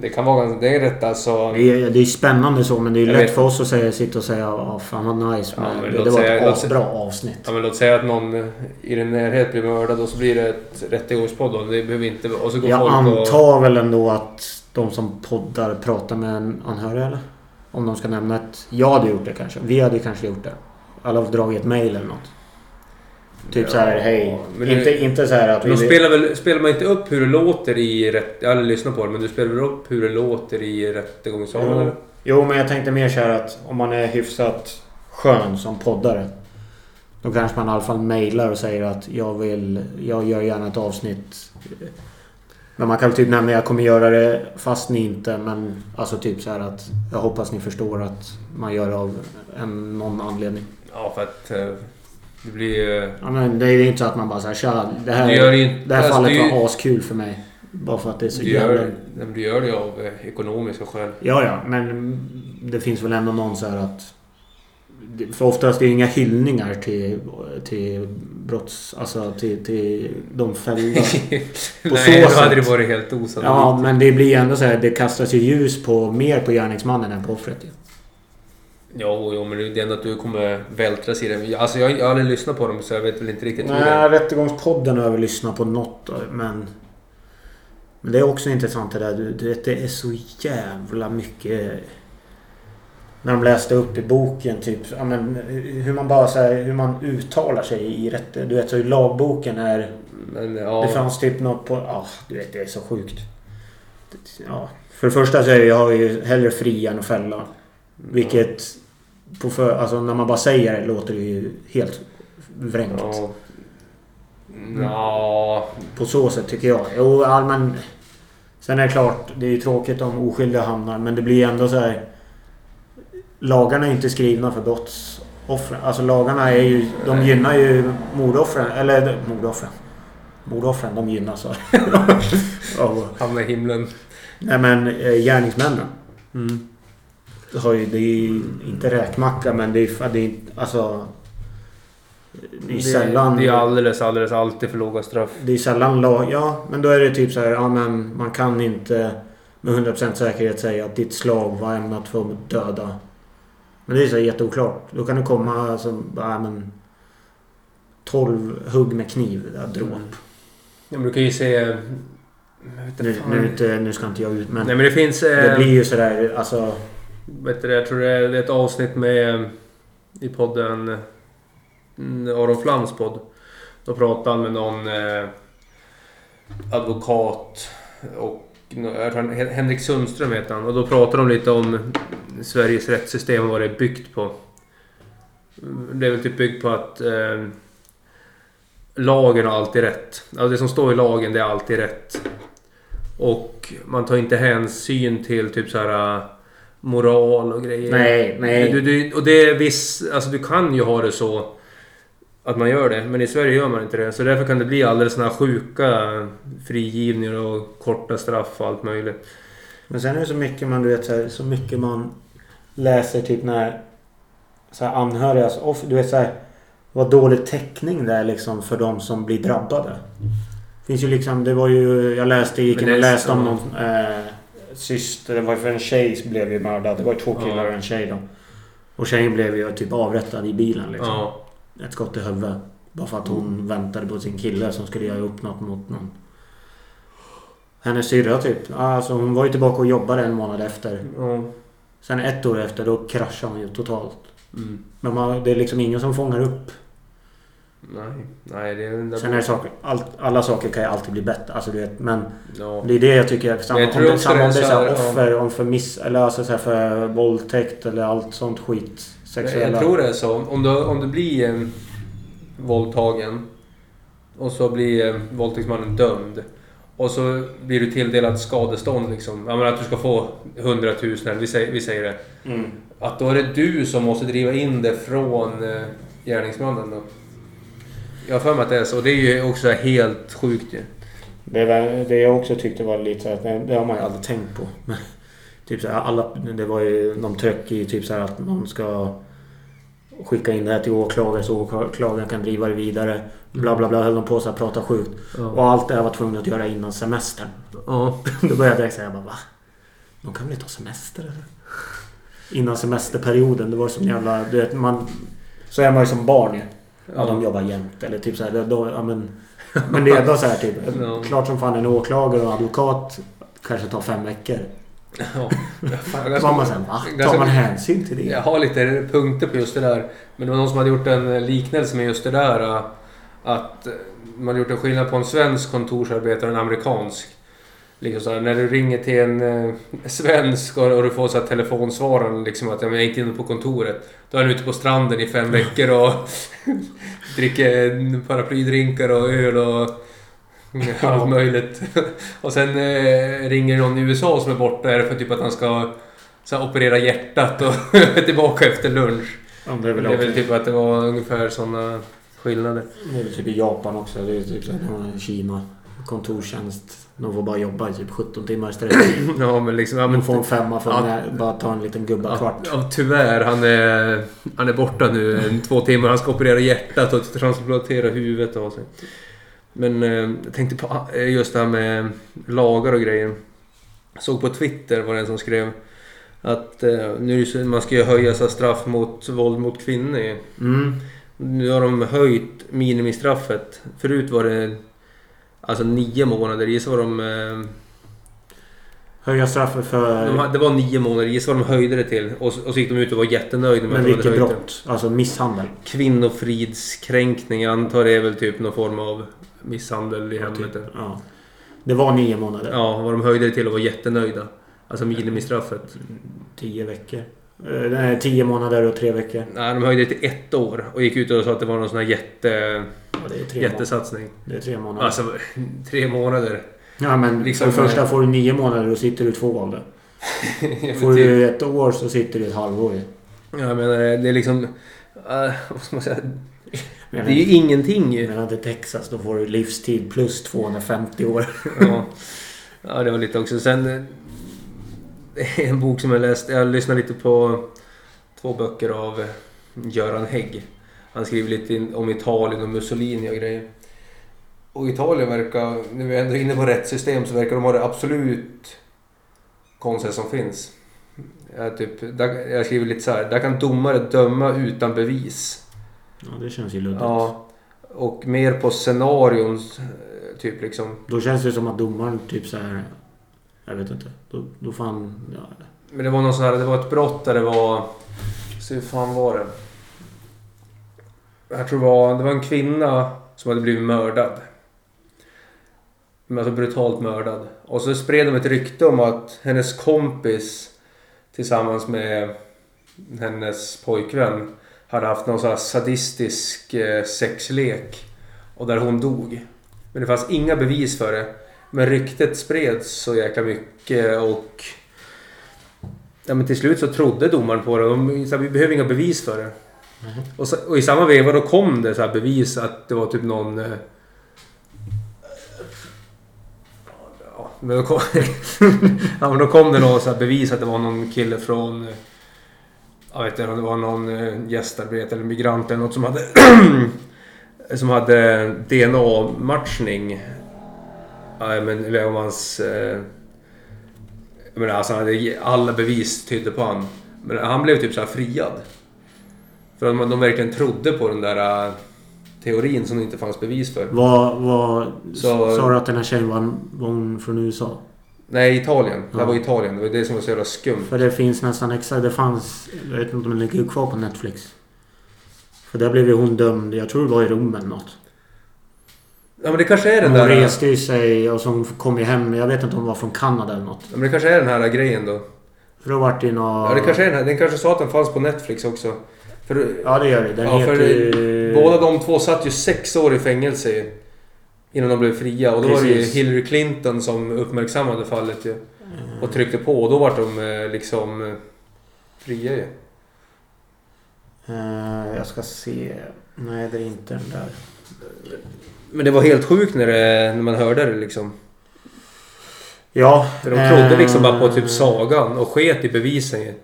Det kan vara ganska... Det är rätt alltså... Det är, det är spännande så men det är ju Jag lätt vet. för oss att säga, sitta och säga ja fan vad nice Ja, men men det, låt det var säga- ett låt asbra avsnitt. Ja, men låt säga att någon i din närhet blir mördad och så blir det ett rättegångspodd. och Det behöver inte... Och så går Jag folk och... antar väl ändå att de som poddar pratar med en anhörig eller? Om de ska nämna ett... Jag hade gjort det kanske. Vi hade kanske gjort det. Alla har dragit ett mail eller något. Typ Ja, så här hej. men inte, det- inte så här att vi... De spelar väl... Spelar man inte upp hur det låter i rätt... Jag har aldrig lyssnat på det, men du spelar väl upp hur det låter i rättegångssalen jo, eller? jo men jag tänkte mer så här att om man är hyfsat skön som poddare. Då kanske man i alla fall mailar och säger att jag vill... Jag gör gärna ett avsnitt. Men man kan väl typ nämna jag kommer göra det fast ni inte. Men alltså typ så här att jag hoppas ni förstår att man gör det av en, någon anledning. Ja, för att... eh, Det blir... eh, Ja, men det är ju inte så att man bara säger tja det här, Det gör det ju- det här alltså, fallet det är ju- var askul för mig. Bara för att det är så Du jävla... gör, nej, men du gör det av eh, ekonomiska skäl. Ja, ja, men det finns väl ändå någon så här att... För oftast är det inga hyllningar till, till brotts... Alltså till, till de fällda. På nej, så då hade sätt. det varit helt osannolikt. ja, men det blir ju ändå så här. Det kastas ju ljus på mer på gärningsmannen än på offret. ju. Jo, jo, men det är ändå att du kommer vältras i det. Alltså, jag, jag har aldrig lyssnat på dem så jag vet väl inte riktigt hur det Nej, Rättegångspodden har jag väl lyssnat på något men... Men det är också intressant det där. Du, du vet, det är så jävla mycket... När de läste upp i boken typ ja, men, hur man bara så här, hur man uttalar sig i rätten. Du vet så hur lagboken är. Men ja... Det fanns typ något på... Ja, du vet det är så sjukt. Ja. För det första så är jag ju hellre fria än att fälla. Vilket... På för, alltså när man bara säger det låter det ju helt vrängt. Ja. Nja... På så sätt tycker jag. Jo, ja, men... Sen är det klart, det är ju tråkigt om oskyldiga hamnar, men det blir ändå så här... Lagarna är inte skrivna för brottsoffren. Alltså lagarna är ju... De gynnar ju mordoffren. Eller mordoffren. Mordoffren, de gynnas av... av Hamna i himlen. nej men eh, gärningsmännen. Det Har ju, det är ju inte räkmacka, men det är ju... Det är, alltså... Det är ju sällan... Det är alldeles, alldeles alltid för låga straff. Det är sällan lag... Ja, men då är det typ så här, ja men man kan inte med 100% säkerhet säga att ditt slag var ämnat för att döda. Men det är så här jätteoklart. Då kan det komma alltså, ja men... 12 hugg med kniv, ja, dråp. Mm. Ja, men du kan ju se... Jag vet Nu, inte fan. nu, är inte, nu ska inte jag ut, men... Nej men det finns... det eh, blir ju sådär, alltså... Vet du, det, jag tror det är ett avsnitt med eh, i podden eh, mm, Aron Flams podd. Då pratade han med någon eh, advokat Och jag tror han- Henrik Sundström heter han. Och då pratar de lite om Sveriges rättssystem och vad det är byggt på. Det är väl typ byggt på att eh, lagen har alltid rätt. Alltså det som står i lagen, det är alltid rätt. Och man tar inte hänsyn till typ så här eh, moral och grejer. Nej, nej. Du, du, och det är viss... Alltså du kan ju ha det så att man gör det. Men i Sverige gör man inte det. Så därför kan det bli alldeles såna här sjuka frigivningar och korta straff och allt möjligt. Men sen är det så mycket man, du vet, så, här, så mycket man läser typ när så här, anhöriga... så off- Du vet så här, vad dålig täckning det är liksom för de som blir drabbade. Finns ju liksom, det var ju, jag läste, gick Men in och det är- läste om någon eh, syster, det var ju för en tjej som blev ju mördad. Det var ju två killar Ja. och en tjej då. Och tjejen blev ju typ avrättad i bilen liksom. Ja. Ett skott i huvudet. Bara för att hon Mm. väntade på sin kille som skulle göra upp något mot någon. Hennes syrra typ. Alltså hon var ju tillbaka och jobbade en månad efter. ja. Sen ett år efter då kraschade hon ju totalt. Mm. Men man, det är liksom ingen som fångar upp. Nej. Nej, det är den Sen är det saker, allt, alla saker kan ju alltid bli bättre. Alltså du vet, men Ja. det är det jag tycker. Samma, Men jag tror om det, också samma det är om det är så så här här, ja. offer, om för miss... Eller alltså så här för våldtäkt eller allt sånt skit. Sexuella. Jag tror det är så. Om du, om du blir eh, våldtagen och så blir eh, våldtäktsmannen dömd. Och så blir du tilldelad skadestånd liksom. Ja, men att du ska få 100 000 eller vi säger, vi säger det. Mm. Att då är det du som måste driva in det från eh, gärningsmannen då. Jag har för mig att det är så. Det är ju också helt sjukt ju. Det, var, det jag också tyckte var lite så att det, det har man ju aldrig tänkt på. Men, typ så här, alla, det var ju någon tök i typ så här att man ska skicka in det här till åklagare så åklagaren kan driva det vidare. Bla bla bla höll de på så här, prata sjukt. Ja. Och allt det här var tvungen att göra innan semestern. Ja. Då började jag direkt säga bara va? De kan väl inte ha semester eller? Innan semesterperioden. Det var som jävla... Du vet, man, så är man ju som barn ju. Ja, de jobbar jämt. Eller typ så här, då, ja, men, men redan så här typ. Ja. Klart som fan en åklagare och advokat kanske tar fem veckor. Ja. Fan, jag Då ska- var man sen va? ganska- Tar man hänsyn till det? Jag har lite punkter på just det där. Men det var någon som hade gjort en liknelse med just det där. eh, Att eh, man gjort en skillnad på en svensk kontorsarbetare och en amerikansk. Liksom så här, när du ringer till en eh, svensk och, och du får så här telefonsvararen liksom att "Ja, men jag är inte inne på kontoret. Då är han ute på stranden i fem veckor och dricker en paraplydrinkar och öl och allt möjligt. Och sen eh, ringer någon i USA som är borta är det för typ att han ska så här, operera hjärtat och är tillbaka efter lunch. Ja, men det är Det väl är väl också- typ att det var ungefär sådana skillnader. det är väl typ i Japan också. Det är typ så här, de har Kina. Kontorstjänst. De får bara jobba i typ 17 timmar i sträck. Ja men liksom... Ja, men, De får en femma för Ja. att bara ta en liten gubba ja, kvart. ja, tyvärr, han är, han är borta nu en, två timmar. Han ska operera hjärtat och transplantera huvudet och sig. Men eh, jag tänkte på eh, just det här med lagar och grejer. Jag såg på Twitter var det en som skrev att eh, nu är det så- man ska ju höja så här straff mot våld mot kvinnor ju. Mm. Nu har de höjt minimistraffet. Förut var det alltså nio månader. Gissa vad de... eh, Höja straffet för... de hade- det var nio månader. Gissa vad de höjde det till. Och, så- och så gick de ut och var jättenöjda med att men de hade vilket höjt det. brott? Alltså misshandel. Kvinnofridskränkning. Jag antar det är väl typ någon form av misshandel i hemmet. Typ. Ja. Det var nio månader. Ja, vad de höjde det till och var jättenöjda. Alltså minimistraffet. Tio veckor. Eh, nej, tio månader och tre veckor. Nej, de höjde det till ett år och gick ut och sa att det var någon sån här jätte, Ja, det, är tre månader. jättesatsning. det är tre månader. Alltså, tre månader. ja, men liksom- för det första får du nio månader och sitter du två av det. Får du ett år så sitter du ett halvår. i. Ja, Jag menar, det är liksom... eh, vad ska man säga? Det Men- är ju ingenting ju. Medan i Texas då får du livstid plus 250 år. Ja. ja, det var lite också. Sen... eh, det är En bok som jag läst. Jag lyssnade lite på två böcker av eh, Göran Hägg. Han skriver lite in- om Italien och Mussolini och grejer. Och Italien verkar, nu är vi ändå inne på rätt system, så verkar de ha det absolut konstiga som finns. Jag, typ, där, jag skriver lite så här. Där kan domare döma utan bevis. Ja, det känns ju luddigt. Ja. Och mer på scenarion, eh, typ liksom. Då känns det som att domaren typ så här... Jag vet inte. Då, då fan... Ja. Men det var någon sån här, det var ett brott där det var... Så hur fan var det? Jag tror det var, det var en kvinna som hade blivit mördad. men alltså brutalt mördad. Och så spred de ett rykte om att hennes kompis tillsammans med hennes pojkvän hade haft någon sån här sadistisk eh, sexlek. Och där hon dog. Men det fanns inga bevis för det. Men ryktet spreds så jäkla mycket och... Ja, men till slut så trodde domaren på det. De sa vi behöver inga bevis för det. Och, så, och i samma veva då kom det så här bevis att det var typ någon... eh, Ja, men då kom, ja, men då kom det någon så här bevis att det var någon kille från... eh, Jag vet inte om det var någon eh, gästarbetare eller migrant eller något som hade... som hade DNA-matchning. Ja, men, eller om hans... eh, Jag menar, alltså, han hade, alla bevis tydde på han. Men han blev typ så här friad. För de, de verkligen trodde på den där eh, teorin som det inte fanns bevis för. Vad... vad Så- Sa du att den här tjejen var, var hon från USA? Nej, Italien. Det här Ja. var Italien. Det var det som var så jävla skumt. För det finns nästan exakt... Det fanns... Jag vet inte om den ligger kvar på Netflix. För där blev ju hon dömd. Jag tror det var i Rom eller något. Ja men det kanske är den Hon där... reste ju sig och så hon kom ju hem. Jag vet inte om hon var från Kanada eller något. Ja, men det kanske är den här grejen då. För då vart det ju Ja, något... det kanske är den här. Den kanske sa att den fanns på Netflix också. För, Ja, det gör det. Den ja, heter för ju... båda de två satt ju sex år i fängelse ju, Innan de blev fria. Och då var det ju Precis. Hillary Clinton som uppmärksammade fallet ju. Och tryckte på. Och då var de eh, liksom eh, fria ju. Eh, jag ska se. Nej, det är inte den där. Men det var helt sjukt när, det, när man hörde det liksom. Ja. För de trodde liksom bara på eh, typ sagan och sket i bevisen ju.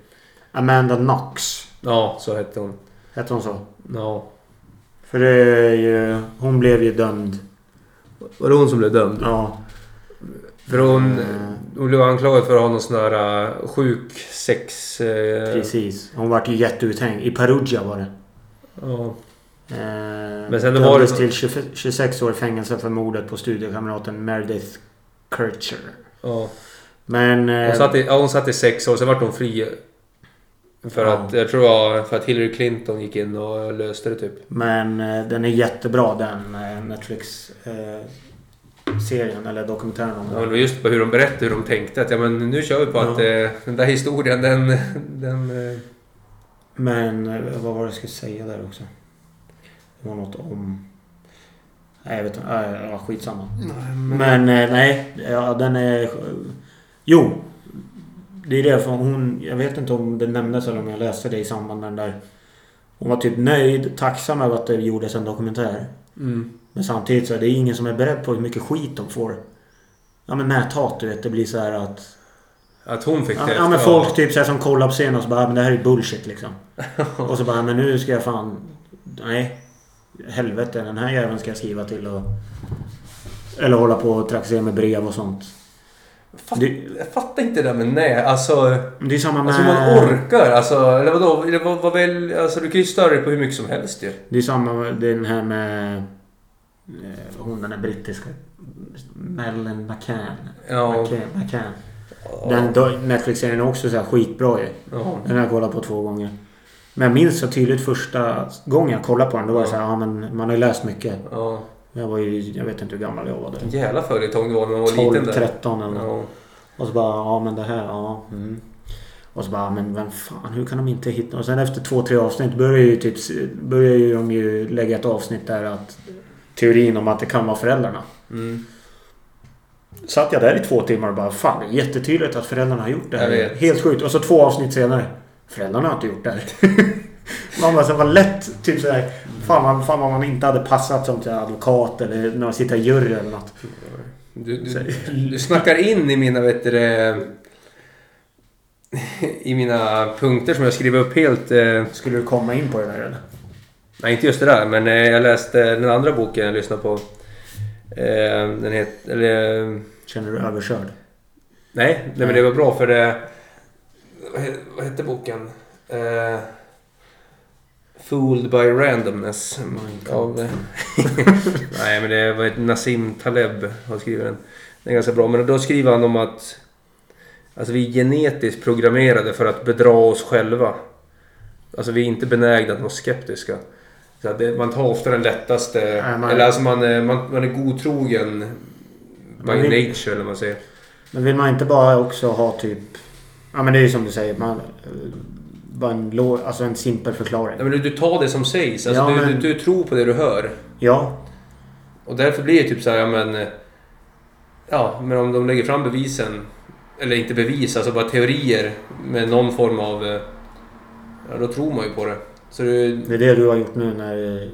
Amanda Knox. Ja, så hette hon. Hette hon så? Ja. För det är ju... Hon blev ju dömd. Var det hon som blev dömd? Ja. För hon, Mm. hon blev anklagad för att ha någon sån där eh, sjuk sex... eh, Precis. Hon vart ju jätteuthängd. I Perugia var det. Ja. Eh, Men sen det var dömdes det- till 20 26 år i fängelse för mordet på studiekamraten Meredith Kircher. ja. Men... eh, Hon, satt i, ja, hon satt i sex år, sen vart hon fri. För Ja. att, jag tror det var för att Hillary Clinton gick in och löste det typ. Men eh, den är jättebra den eh, Netflix eh, serien eller dokumentären om Ja, men det den. var just på hur de berättade hur de tänkte. Att ja, men nu kör vi på Ja. att eh, den där historien den... den eh, Men eh, vad var det jag skulle säga där också? Det var något om... Nej jag vet inte. Äh, ja, skitsamma. Mm. Men eh, nej. Ja, den är... Jo! Det är det för hon... Jag vet inte om det nämndes eller om jag läste det i samband med den där. Hon var typ nöjd, tacksam över att det gjordes en dokumentär. mm. Men samtidigt så är det ingen som är beredd på hur mycket skit de får. Ja men näthat du vet. Det blir så här att... Att hon fick Ja, det ja men efter- folk typ så här som kollar på scenen och så bara "Ja, men det här är bullshit liksom. och så bara men nu ska jag fan... Nej. Helvete den här jäveln ska jag skriva till och... Eller hålla på och trakassera med brev och sånt. Fatt, Det- Jag fattar inte det där med nej. Alltså... Men Det är samma med... Alltså man orkar alltså. Eller vadå? Eller vad, vad väl, alltså du kan ju störa dig på hur mycket som helst ju. Det är samma med den här med... eh, Hon den där brittiska... Madeleine McCann. Ja. McCann. McCann. Den do- Netflix-serien är också så här skitbra ju. Ja. Den har jag kollat på två gånger. Men jag minns så tydligt första gången jag kollade på den. Då var jag så här, ja men man har ju läst mycket. Ja. Jag var ju, jag vet inte hur gammal jag var då. En jävla följetong det var när man var liten 12, där. 13 eller något. Ja. Och så bara, ja men det här, ja. Mm. Och så bara, men vem fan, hur kan de inte hitta... Och sen efter två, tre avsnitt börjar ju typ... Börjar ju de ju lägga ett avsnitt där att... Teorin om att det kan vara föräldrarna. Mm. Satt jag där i två timmar och bara, fan det är jättetydligt att föräldrarna har gjort det Jag här. vet. Helt sjukt. Och så två avsnitt senare. Föräldrarna har inte gjort det här. Man bara, så var lätt typ såhär... Fan, man- fan vad man inte hade passat som till advokat eller när man sitter i jury eller något. Du, Så- du, du snackar in i mina vet du, det, I mina punkter som jag skriver upp helt. eh, Skulle du komma in på det där eller? Nej inte just det där men eh, jag läste den andra boken jag lyssnade på. Eh, Den heter... Eller, eh, Känner du dig överkörd? Nej, nej men det var bra för det... Vad he- Vad hette boken? Eh, Fooled by randomness. Av, eh, nej men det var ett Nassim Taleb har skrivit den. Den är ganska bra. Men då skriver han om att... Alltså vi är genetiskt programmerade för att bedra oss själva. Alltså vi är inte benägna att vara skeptiska. Så att det, man tar ofta den lättaste... Nej, man- Eller alltså man, är- man, man är godtrogen By Men vi- nature eller vad man säger. Men vill man inte bara också ha typ... Ja men det är ju som du säger. Man, eh, bara en, lå- alltså en simpel förklaring. Nej, men du, du tar det som sägs. Alltså, Ja, du, men- du, du tror på det du hör. Ja. Och därför blir det typ så här, ja men... eh, Ja, men om de lägger fram bevisen. Eller inte bevis, alltså bara teorier med någon form av... eh, Ja, då tror man ju på det. Så det, Det är det du har gjort nu när eh,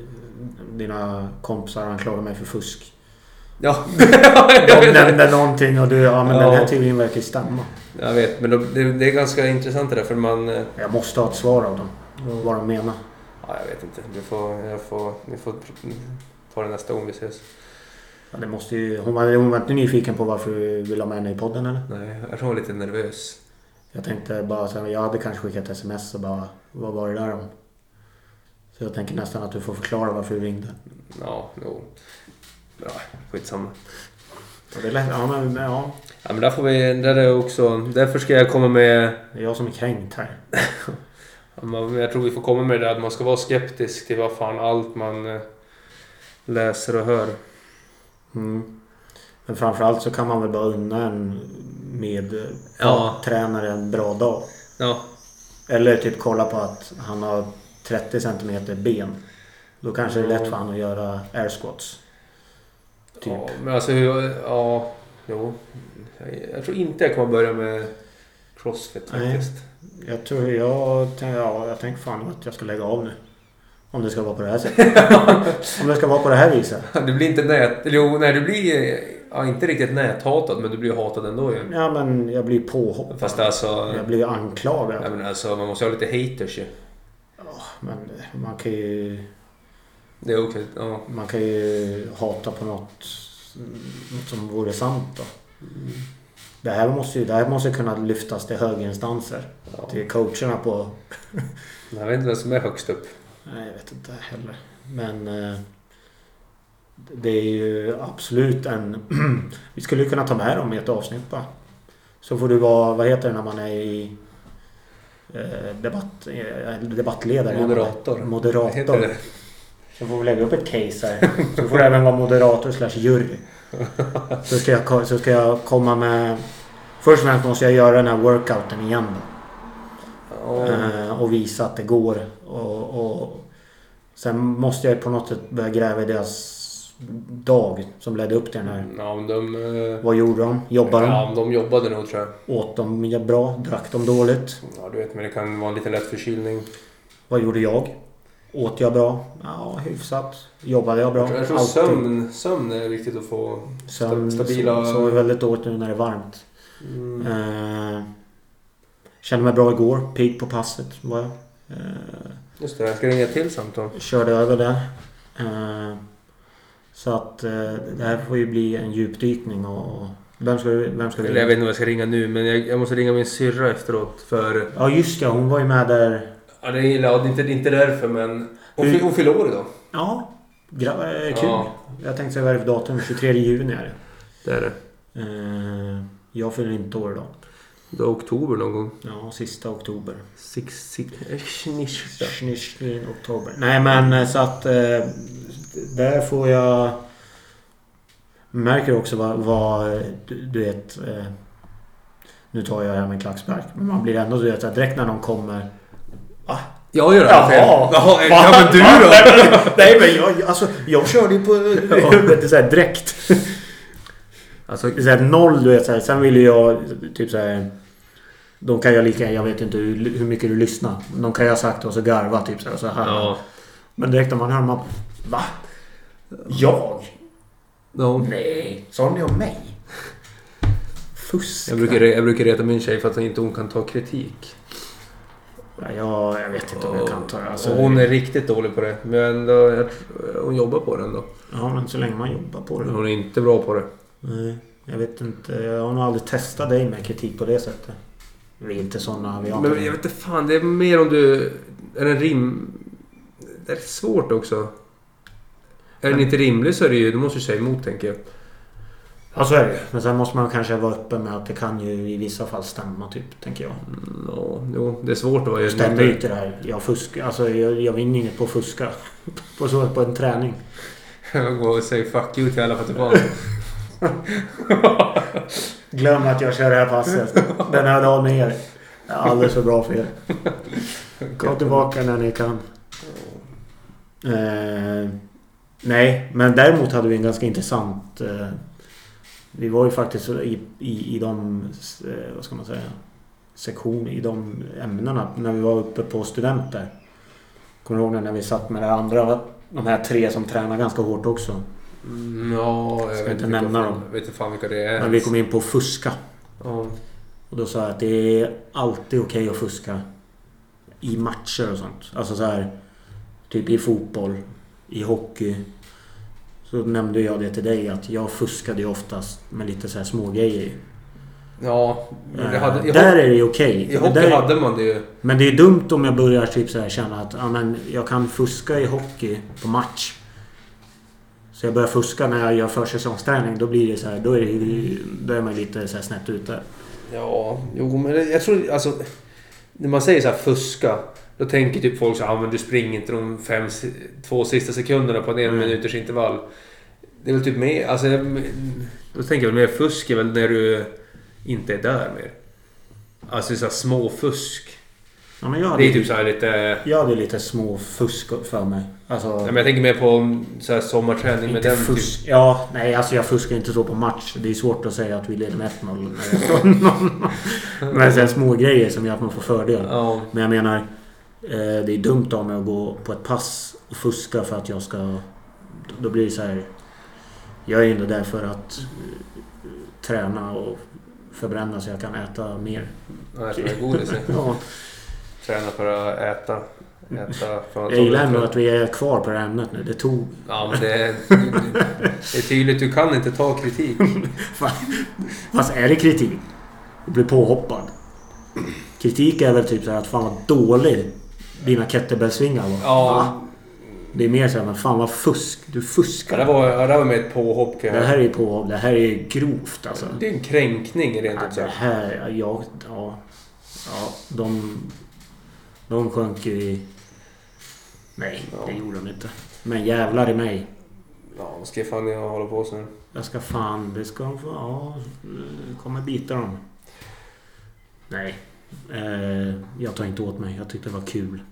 dina kompisar anklagar mig för fusk. ja. De nämnde någonting och du... Ja men den Ja. här teorin verkar ju stämma. Jag vet, men då- det, det är ganska intressant det där för man... eh, Jag måste ha ett svar av dem. Vad de menar. Ja, jag vet inte. Du får, jag får, ni får ta det nästa gång vi ses. Ja, det måste ju, hon, var, hon var inte nyfiken på varför du ville ha med henne i podden eller? Nej, jag tror jag är lite nervös. Jag tänkte bara så här, jag hade kanske skickat ett sms och bara vad var det där om? Så jag tänker nästan att du får förklara varför du ringde. Ja, jo. Ja, skitsamma. Och det är lätt, ja, men, ja, Ja, men där får vi... Där är också... Därför ska jag komma med... det är jag som är kränkt här. Ja, man- Jag tror vi får komma med det där att man ska vara skeptisk till vad fan allt man eh, läser och hör. Mm. Men framförallt så kan man väl bara unna en med eh, Ja. tränare en bra dag. Ja, Eller typ kolla på att han har 30 centimeter ben. Då kanske det är lätt för han att göra air squats. Typ. ja men alltså... Ja, jo. Jag, jag tror inte jag kommer börja med Crossfit Nej. faktiskt. Jag tror jag, tänk- ja, jag tänker fan att jag ska lägga av nu. Om det ska vara på det här sättet. Om det ska vara på det här viset. Du blir inte nät... eller Jo, nej du blir... Ja, inte riktigt näthatad, men du blir hatad ändå ju. Ja men jag blir påhoppad. Fast alltså... Jag blir anklagad. Jag menar, alltså man måste ju ha lite haters ju. Ja, Men man kan ju, Det är okej. Ja. man kan ju hata på något, något som vore sant då. Det här måste ju det här måste kunna lyftas till högre instanser. Ja. Till coacherna på... Jag vet inte vem som är högst upp. Nej, jag vet inte heller. Men... eh, Det är ju absolut en... Vi skulle ju kunna ta med dem i ett avsnitt bara. Så får du vara... Vad heter det när man är i... eh, Debatt, eh, debattledare. Moderator. Vad heter Moderator. det? Så får vi lägga upp ett case här. Så får du även vara moderator slash jury. Så ska, jag, ko- så ska jag komma med... Först och främst måste jag göra den här workouten igen då. Ja. Eh, och visa att det går. Och, och, sen måste jag på något sätt börja gräva i deras dag som ledde upp till den här. Ja, men de... eh, Vad gjorde de? Jobbade de? Ja, men de jobbade nog tror jag. Åt de bra? Drack de dåligt? Ja, du vet, men det kan vara en liten lätt förkylning. Vad gjorde jag? Åt jag bra? Ja, hyfsat. Jobbade jag bra? Jag tror, jag tror Alltid. sömn, sömn är viktigt att få. Sömn. sta- stabila- Sov sov väldigt dåligt nu när det är varmt. Mm. Eh, kände mig bra igår. Pigg på passet var jag. Eh, Just det, jag ska ringa ett till samtal. körde över där. Eh, Så att eh, det här får ju bli en djupdykning och... och Vem ska, vi- vem ska vi... Eller jag vet inte om jag ska ringa nu, men jag, jag måste ringa min syrra efteråt för... Ja just ja, hon var ju med där. Ja, det gillar jag. Det är inte, det är inte därför, men... Hon, fy- hon fyller år idag. Ja, gra- eh, kul. Ja. Jag tänkte säga vad är det för datum? 23 juni är det. Det är det. Eh, Jag fyller inte år idag. Det är oktober någon gång. Ja, sista oktober. Six, six, six, Schnitzeln oktober. Nej men eh, så att eh, där får jag... Märker också vad, vad eh, du, du vet... Eh, nu tar jag det här med en klackspark. Men man blir ändå du vet att direkt när någon kommer... Jag gör det här själv. Jaha, ja, men du då? Nej men jag, alltså, jag körde ju på huvudet såhär direkt. Alltså, Så här, noll du vet så här. Sen ville jag typ så här. De kan jag lika jag vet inte hur, hur mycket du lyssnar. De kan jag ha sagt och så garva typ så här, så här. ja. Men direkt när man hör man... Va? Jag? ja. Nej. Sa ni om mig? Fusk. Jag, brukar, jag brukar reta min tjej för att hon inte hon kan ta kritik. Ja, jag, jag vet inte om jag kan ta det. Alltså, och hon är riktigt dålig på det. Men då, jag, tror- hon jobbar på det ändå. Ja, men så länge man jobbar på det. Men Hon är inte bra på det. Nej, jag vet inte. Jag har nog aldrig testat dig med kritik på det sättet. Vi är inte såna. Vi har Men inte- jag vet inte fan, det är mer om du... Är den rim... Det är svårt också. Är den inte rimlig så är det ju... Då måste du säga emot tänker jag. Ja, så är det ju. Men sen måste man kanske vara öppen med att det kan ju i vissa fall stämma, typ, tänker jag. Ja, jo, det är svårt att vara Jag stämmer ju inte det här. Jag fuskar. Alltså, jag, jag vinner inget på att fuska. På, så, på en träning. Jag går och säger fuck you till alla för att det var Glöm att jag kör det här passet. Den här dagen med er. Jag är alldeles för bra för er. Kom tillbaka när ni kan. Eh, nej, men däremot hade vi en ganska intressant... Eh, vi var ju faktiskt i, i, i de... Eh, vad ska man säga? Sektion i de ämnena när vi var uppe på studenter. Kommer du ihåg när vi satt med det andra? De här tre som tränar ganska hårt också. Mm, ja, jag Ska vet inte vilka nämna fan- dem. Jag vet inte fan vilka det är. Men vi kom in på fuska. ja. Och då sa jag att det är alltid okej att fuska. I matcher och sånt. Alltså så här. Typ i fotboll. I hockey. Så nämnde jag det till dig att jag fuskade ju oftast med lite så här små grejer. Eh, ja, men det hade, i, där hockey, är det ju okej. i hockey Där- hade man det ju. Men det är dumt om jag börjar typ så här känna att ja, men jag kan fuska i hockey på match. Så jag börjar fuska när jag gör försäsongsträning. Då blir det så här. Då är, det, då är man lite så här snett ute. Ja, jo men det- jag tror alltså... När man säger så här fuska. Då tänker typ folk så här, ah, men du springer inte de fem, si- två sista sekunderna på en Mm. en minuters intervall. Det är väl typ mer, alltså... jag- Då tänker jag väl mer fusk är väl när du inte är där mer. Alltså så här småfusk. Ja, men jag hade Det är typ så här lite... Jag hade lite små fusk för mig. Alltså, Nej, men jag tänker mer på så här sommarträning med inte den typ- fusk. Ja, nej alltså jag fuskar inte så på match. Det är svårt att säga att vi leder med 1-0. när det står 0-0. men sen små grejer som gör att man får fördel. typ- Ja. Men jag menar, eh, det är dumt av mig att gå på ett pass och fuska för att jag ska... Då blir det så här. Jag är ju ändå där för att eh, träna och förbränna så jag kan äta mer. Nej, jag är godis. Ja, Träna för att äta. Äta för att jag gillar ändå att vi är kvar på det här ämnet nu. Det tog Ja, men det är, det är tydligt. Du kan inte ta kritik. Fast är det kritik? Du blir påhoppad. Kritik är väl typ såhär att fan vad dålig dina kettlebellsvingar var. Va? Ja, Det är mer såhär, men fan vad fusk. Du det här fuskar. var, ja, det här var med ett påhopp. kan Det jag- här är ju på, det här är ju grovt alltså. Det är en kränkning rent Ja, ut det sagt. här, ja, jag, ja. Ja, de... De sjönk ju i... Nej, det gjorde de inte. Men jävlar i mig. Ja, vad ska fan jag hålla på så nu? Jag ska fan, det ska de få, ja, eh, kommer bita dem. Nej, eh, jag tar inte åt mig. Jag tyckte det var kul.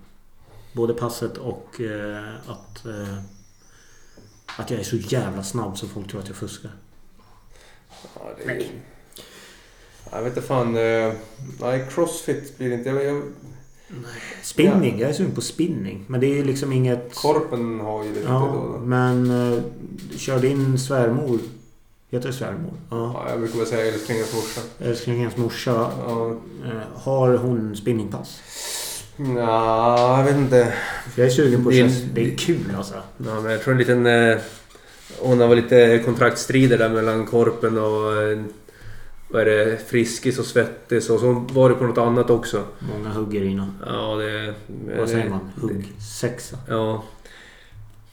Både passet och eh, att, eh, att jag är så jävla snabb så folk tror att jag fuskar. Ja, det är... Jag vet inte fan. eh, Nej, crossfit blir det inte. Jag, jag, Spinning, jag är sugen på spinning. Men det är ju liksom inget... korpen har ju lite då. Ja, då. men eh, kör din svärmor. Heter det svärmor? Ja. Ja, jag brukar väl säga älsklingens morsa. Älsklingens morsa. Ja. eh, Har hon spinningpass? Nja, jag vet inte. För jag är sugen på Det är- att köra- Det är kul alltså. Ja, men jag tror en liten... Eh, hon har väl lite kontraktstrider där mellan Korpen och... Eh, vad är det? Friskis och Svettis och så var det på något annat också. Många hugger innan. Ja, det... Vad säger man? Hugg sexa. Ja.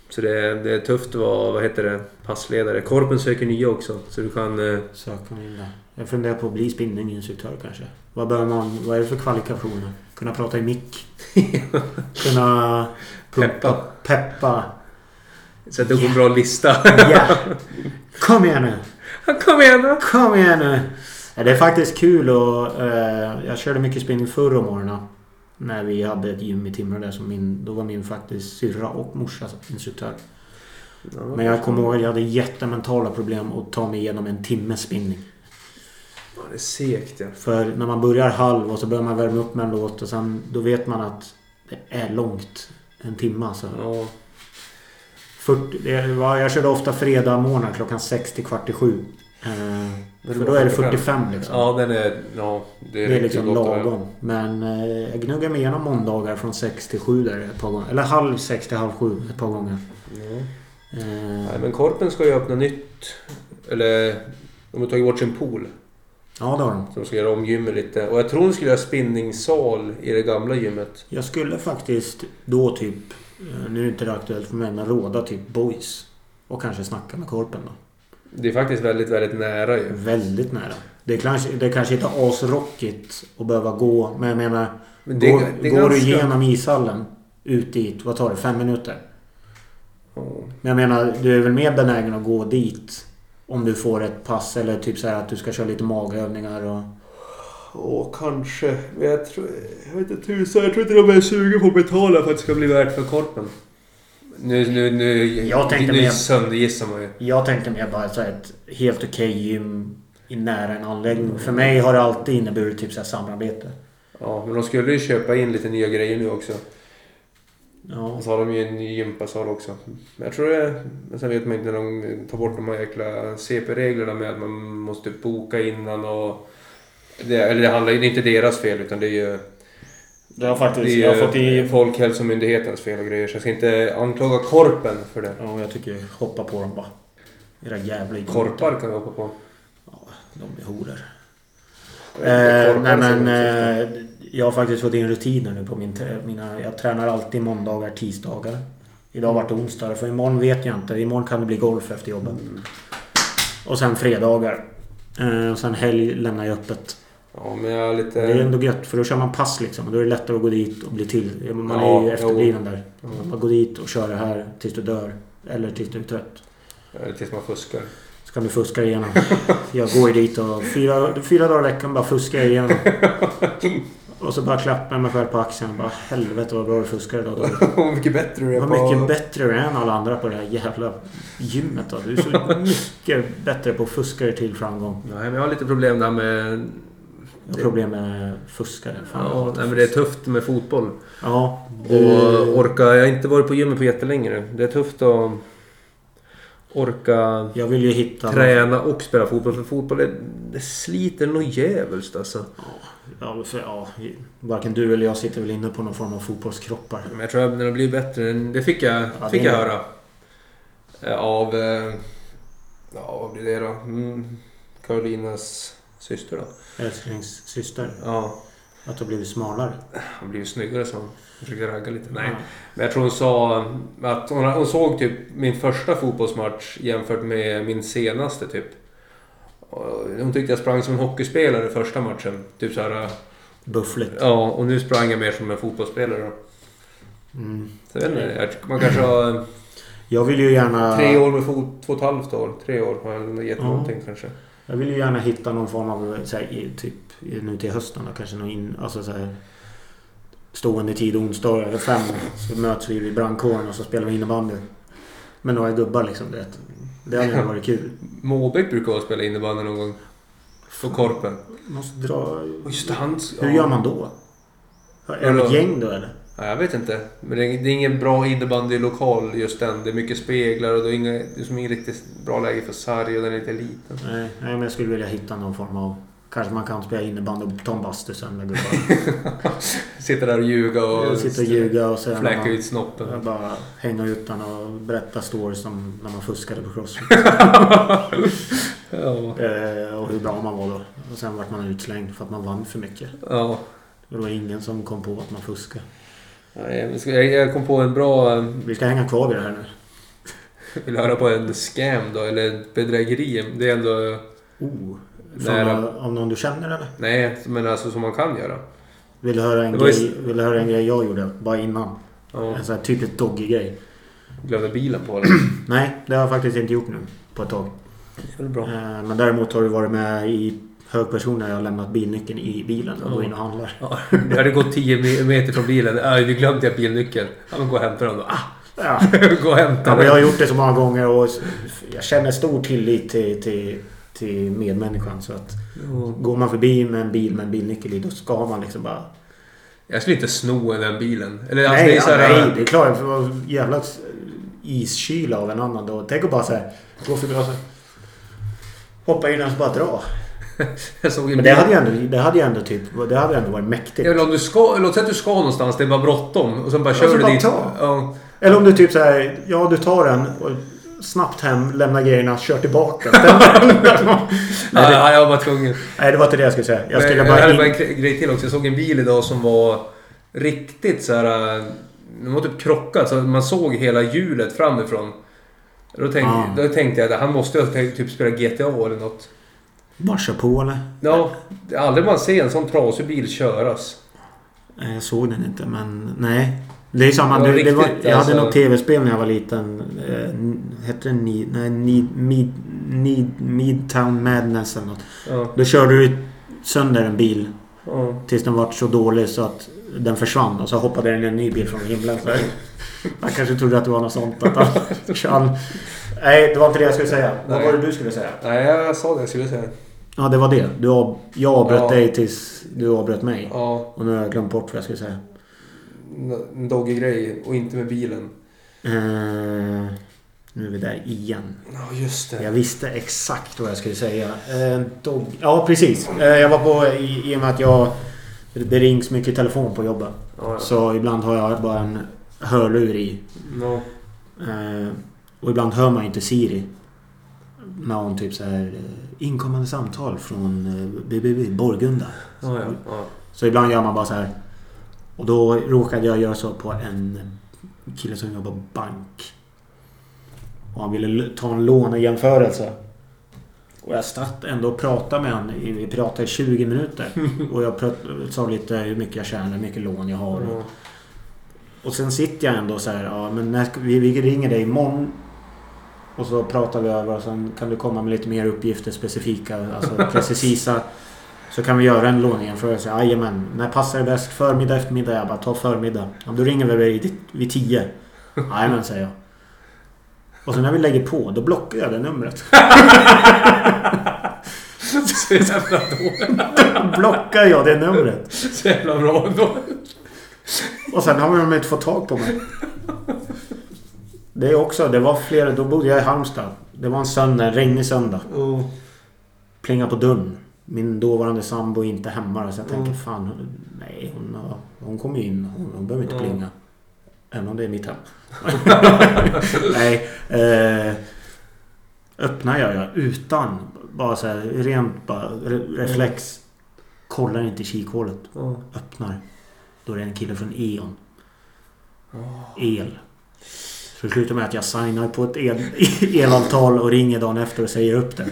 Så det, det är tufft att vara, vad heter det, passledare. Korpen söker nya också. Så du kan... Eh, Söker man in där. Jag funderar på att bli spinninginstruktör kanske. Vad bör man... Vad är det för kvalifikationer? Kunna prata i mick. Kunna... Peppa. Peppa. sätta upp en bra lista. Ja! Kom igen nu! Kom igen då! Kom igen nu! Ja, Det är faktiskt kul och... Eh, jag körde mycket spinning förr om åren. När vi hade ett gym i Timrå där som min... Då var min faktiskt syrra och morsa instruktör. Men jag kommer ihåg att jag hade jättementala problem att ta mig igenom en timmes spinning. Ja, det är segt ja. För när man börjar halv och så börjar man värma upp med en låt och sen då vet man att det är långt. En timme alltså. ja. 40, det var, jag körde ofta fredag morgon klockan 6 till kvart i 7. Eh, för då är det 45 liksom. Ja, den är... Ja, det är, det är riktigt liksom gott att höra. lagom. Men eh, jag gnuggar mig igenom måndagar från 6 till 7 där ett par gånger. Eller halv 6 till halv 7 ett par gånger. Ja. Eh, Nej, men Korpen ska ju öppna nytt. Eller de har tagit bort sin pool. ja, det har de. Så de ska göra om gymmet lite. Och jag tror de skulle göra spinningsal i det gamla gymmet. Jag skulle faktiskt då typ, eh, nu är det inte det aktuellt för mig, men råda typ boys. Och kanske snacka med korpen då. Det är faktiskt väldigt, väldigt nära ju. Väldigt nära. Det kanske, det kanske inte är asrockigt att behöva gå, men jag menar... Men det är- går det är går du ganska- igenom ishallen ut dit, vad tar det? Fem minuter? Ja. Men jag menar, du är väl mer benägen att gå dit Om du får ett pass eller typ så här att du ska köra lite magövningar och... Åh, kanske. Men jag tror... Jag vet inte tusan. Jag tror inte de är sugen på att betala för att det ska bli värt för korpen. Nu, nu, nu... Jag tänkte nu mer- söndergissar man ju. Jag tänkte mer bara så här ett helt okej gym i nära en anläggning. För mig har det alltid inneburit typ så här samarbete. Ja, men de skulle ju köpa in lite nya grejer nu också. Ja. Och så har de ju en ny gympasal också. Men jag tror det... Men sen vet man inte när de tar bort de här jäkla CP-reglerna med att man måste boka innan och... Det, eller det handlar ju... Det är inte deras fel utan det är ju... Det har faktiskt... Det jag har är fått ju i... Folkhälsomyndighetens fel och grejer så jag ska inte anklaga korpen för det. Ja, jag tycker hoppa på dem bara. Era jävla idioter. Korpar kan vi hoppa på. Ja, de är horor. Korpar Eh, nej som- men eh, jag har faktiskt fått in rutiner nu på min trä- mina... Jag tränar alltid måndagar, tisdagar. Idag vart det Mm. onsdagar för imorgon vet jag inte. Imorgon kan det bli golf efter jobbet. Och sen fredagar. Eh, och sen helg lämnar jag öppet. Ja men jag är lite... Det är ändå gött för då kör man pass liksom. Och då är det lättare att gå dit och bli till. Ja, Man är ju jo. Mm. efterbliven där. Man bara går dit och kör det här tills du dör. Eller tills du är trött. eh, Tills man fuskar. Så kan du fuska dig igenom. Jag går ju dit och fyra, fyra dagar i veckan bara fuskar jag igenom. Och så bara klappar jag mig själv på axeln. Bara helvete vad bra du fuskar idag. David." Vad mycket bättre du är Vad på... mycket bättre du är än alla andra på det här jävla gymmet. Då. Du är så mycket bättre på att fuska dig till framgång. Nej men jag har lite problem där med... Jag har problem med fuskare. Fan, jag Ja, hatar nej, men det är fusk. tufft med fotboll. Ja. Du- Och orka... Jag har inte varit på gymmet på jättelänge nu. Det är tufft att orka Jag vill ju hitta... träna och spela fotboll. För fotboll det, det sliter nog djävulskt alltså. Ja, för, ja, varken du eller jag sitter väl inne på någon form av fotbollskroppar. Men jag tror att den har blivit bättre. Det fick jag, Ja, fick det jag är- höra. Eh, Av... eh, Ja, vad blir det då? Mm, Karolinas syster då. Älsklingssyster. Ja, Att du har blivit smalare. hon blev ju snyggare så hon försökte ragga lite. Nej. Men jag tror hon sa att hon, hon såg typ min första fotbollsmatch jämfört med min senaste typ. Och Hon tyckte jag sprang som en hockeyspelare första matchen. Typ så här, eh, Buffligt. ja, och nu sprang jag mer som en fotbollsspelare. då. Mm. Så jag vet inte, jag- man kanske har... Jag vill ju gärna... Tre år med fot, två och ett halvt år. Tre år har jag gett Ja. någonting kanske. Jag vill ju gärna hitta någon form av... Så här, i- typ nu till hösten då, kanske någon in, alltså, så här, Stående tid onsdagar eller fem. Så möts vi vid brandkåren och så spelar vi innebandy. Med några gubbar liksom, du vet. Det hade ju varit kul. Måbäck brukar vara och spela innebandy någon gång. För Korpen. Måste dra... Och just hans... Hur gör man då? Är det ett gäng då eller? Ja, jag vet inte. Men det är, det är ingen bra innebandylokal just den. Det är mycket speglar och det är, inga, det är som ingen riktigt bra läge för sarg och den är lite liten. Nej, nej, men jag skulle vilja hitta någon form av... Kanske man kan spela innebandy och ta en bastu sen med gubbar. Sitta där och ljuga och... Sitta och ljuga och sen... Fläka ut snoppen. Jag bara hänga ut den och berätta stories om när man fuskade på crossfit. Ja. eh, och hur bra man var då. Och sen vart man utslängd för att man vann för mycket. ja. Och det var ingen som kom på att man fuskade. Nej, men ska- Jag jag kom på en bra... eh, Vi ska hänga kvar vid det här nu. Vill du höra på en scam då? Eller ett bedrägeri? Det är ändå... Oh. Nej, Från, någon- om någon du känner eller? Nej, men alltså som man kan göra. Vill du höra en, Det var ju- grej, vill du höra en grej jag gjorde? Bara innan. Ja. En sån här typisk doggy-grej. Glömde bilen på det. Nej, det har jag faktiskt inte gjort nu. På ett tag. Det är bra. Eh, men däremot har du varit med i hög person när jag har lämnat bilnyckeln i bilen och går in och handlar. Ja, det hade gått 10 me- meter från bilen. Aj, vi glömde jag bilnyckeln. Ja, men gå och hämta den då. Ah, Ja. gå och hämta Ja, men den. jag har gjort det så många gånger och jag känner stor tillit till, till, till medmänniskan. Så att Ja. går man förbi med en bil med en bilnyckel i, då ska man liksom bara... Jag skulle inte sno den bilen. Eller alltså, Nej, det det är så här, nej, det är klart. Det var jävla iskyla av en annan då. Tänk att bara så här, gå förbi och så hoppa in och så bara dra. Jag såg en Men det hade ju ändå, det hade ju ändå, typ, det hade ju ändå varit mäktigt. Eller om du ska... Låt säga att du ska någonstans. Det är bara bråttom. Och sen bara Ja, kör så du bara dit. ta. Ja. Eller om du typ så här, ja du tar den och snabbt hem, lämnar grejerna, kör tillbaka. Ställer den. Nej, ja, jag var bara tvungen. Nej, det var inte det jag skulle säga. Jag Men skulle jag bara... hade bara in- en gre- grej till också. Jag såg en bil idag som var riktigt så här... äh, Den var typ krockad så att man såg hela hjulet framifrån. Då tänkte, Ah. då tänkte jag att han måste ju ha tänkt typ spela GTA eller något. Bara kör på eller? Ja, det är aldrig man ser en sån trasig bil köras. Nej, Jag såg den inte, men nej. Det är samma. Det var Det, det var, riktigt, jag hade alltså. något tv-spel när jag var liten. Eh, n- hette det ni, nej, ni, mid, Need- Midtown Madness eller något. Ja, Då körde du sönder en bil ja. tills den var så dålig så att den försvann och så hoppade den en ny bil från himlen. Så man kanske trodde att det var något sånt. Att han, han, nej, det var inte det jag skulle säga. Vad Nej. var det du skulle säga? Nej, jag sa det jag skulle säga. Ja, det var det. Du av, jag avbröt Ja. dig tills du avbröt mig. Ja, Och nu har jag glömt bort vad jag skulle säga. n- en doggy-grej och inte med bilen. Eh, nu är vi där igen. Ja, just det. Jag visste exakt vad jag skulle säga. Eh, dog, ja, precis. Eh, jag var på i, i och med att jag... Det rings mycket i telefon på jobbet. Ja, ja. Så ibland har jag bara en hörlur i. Ja. Eh, och ibland hör man ju inte Siri. När hon typ så här... eh, Inkommande samtal från eh, BBB Borgunda. Ja, ja, ja. Så ibland gör man bara så här. Och då råkade jag göra så på en kille som jobbar på bank. Och han ville l- ta en lånejämförelse. Och jag satt ändå och pratade med honom. Vi pratade i 20 minuter. Och jag prat- sa lite hur mycket jag tjänar, hur mycket lån jag har. Ja. Och sen sitter jag ändå så här, ja men när ska, vi, vi ringer dig imorgon. Och så pratar vi över och sen kan du komma med lite mer uppgifter specifika, alltså precisa. Så kan vi göra en lånejämförelse. Jajamän. När passar det bäst? Förmiddag, eftermiddag? Jag bara, ta förmiddag. Ja, då ringer vi vid, vid tio. Jajamän, säger jag. Och sen när vi lägger på, då blockar jag det numret. Så jävla dåligt. blockar jag det numret. Så jävla bra ändå. Och sen har de inte fått tag på mig. Det är också, det var flera, då bodde jag i Halmstad. Det var en söndag, en regnig söndag. Ja. plinga på dörren. Min dåvarande sambo är inte hemma så jag tänker Mm. fan, hon- nej hon, har- hon kommer in. Hon, hon behöver inte Mm. plinga. Även om det är mitt hem. nej. Eh, öppnar jag jag utan. Bara så här rent bara re- reflex. Kollar inte i kikhålet. Ja. Öppnar. Då är det en kille från E.ON. Ja. El. Så det slutar med att jag signar på ett el, elavtal och ringer dagen efter och säger upp det.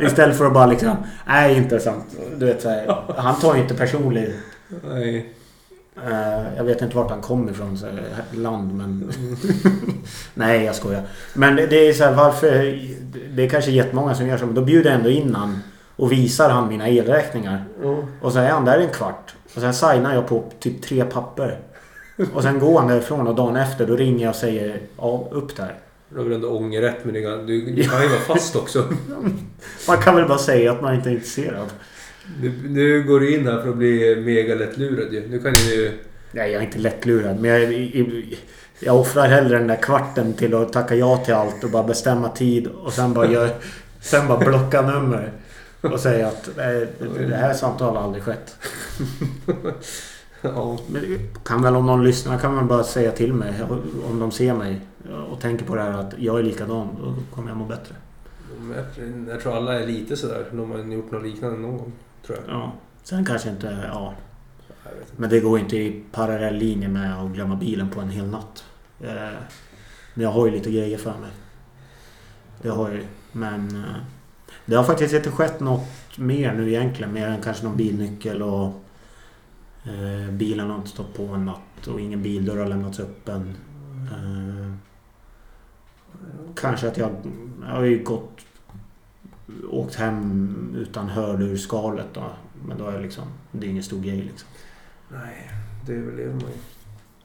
Istället för att bara liksom... Nej, inte sant. Du vet så här, Han tar ju inte personlig... Nej. eh, jag vet inte vart han kommer ifrån. Så här, land, men... nej, jag skojar. Men det är så här, varför... Det är kanske jättemånga som gör så. Men då bjuder jag ändå in han och visar han mina elräkningar. Ja. Och så är han där en kvart. Och sen signar jag på typ tre papper. Och sen går han därifrån och dagen efter då ringer jag och säger ja, upp där. Du har väl ändå ångerrätt men du, du, du kan ju vara fast också. Man kan väl bara säga att man inte är intresserad. Du, nu går du in här för att bli mega lättlurad ju. Nu kan du... Nej, jag är inte lättlurad. Men jag, i- i- jag offrar hellre den där kvarten till att tacka ja till allt och bara bestämma tid. Och sen bara, gör, sen bara blocka nummer. Och säga att nej, det- det här samtalet har aldrig skett. Ja. Men det kan väl om någon lyssnar kan man bara säga till mig om de ser mig och tänker på det här att jag är likadan. Då kommer jag må bättre. Jag- Jag tror alla är lite sådär. De har gjort något liknande någon gång. Tror jag. Ja. Sen kanske inte... Ja. jag vet inte. Men det går inte i parallell linje med att glömma bilen på en hel natt. Eh, Men jag har ju lite grejer för mig. Det har jag ju. Men eh, det har faktiskt inte skett något mer nu egentligen. Mer än kanske någon bilnyckel och eh, bilen har inte stått på en natt och ingen bildörr har lämnats öppen. Eh, kanske att jag, jag har ju gått åkt hem utan hörlurskalet då. Men då är jag liksom, det är ingen stor grej liksom. Nej, det överlever man ju.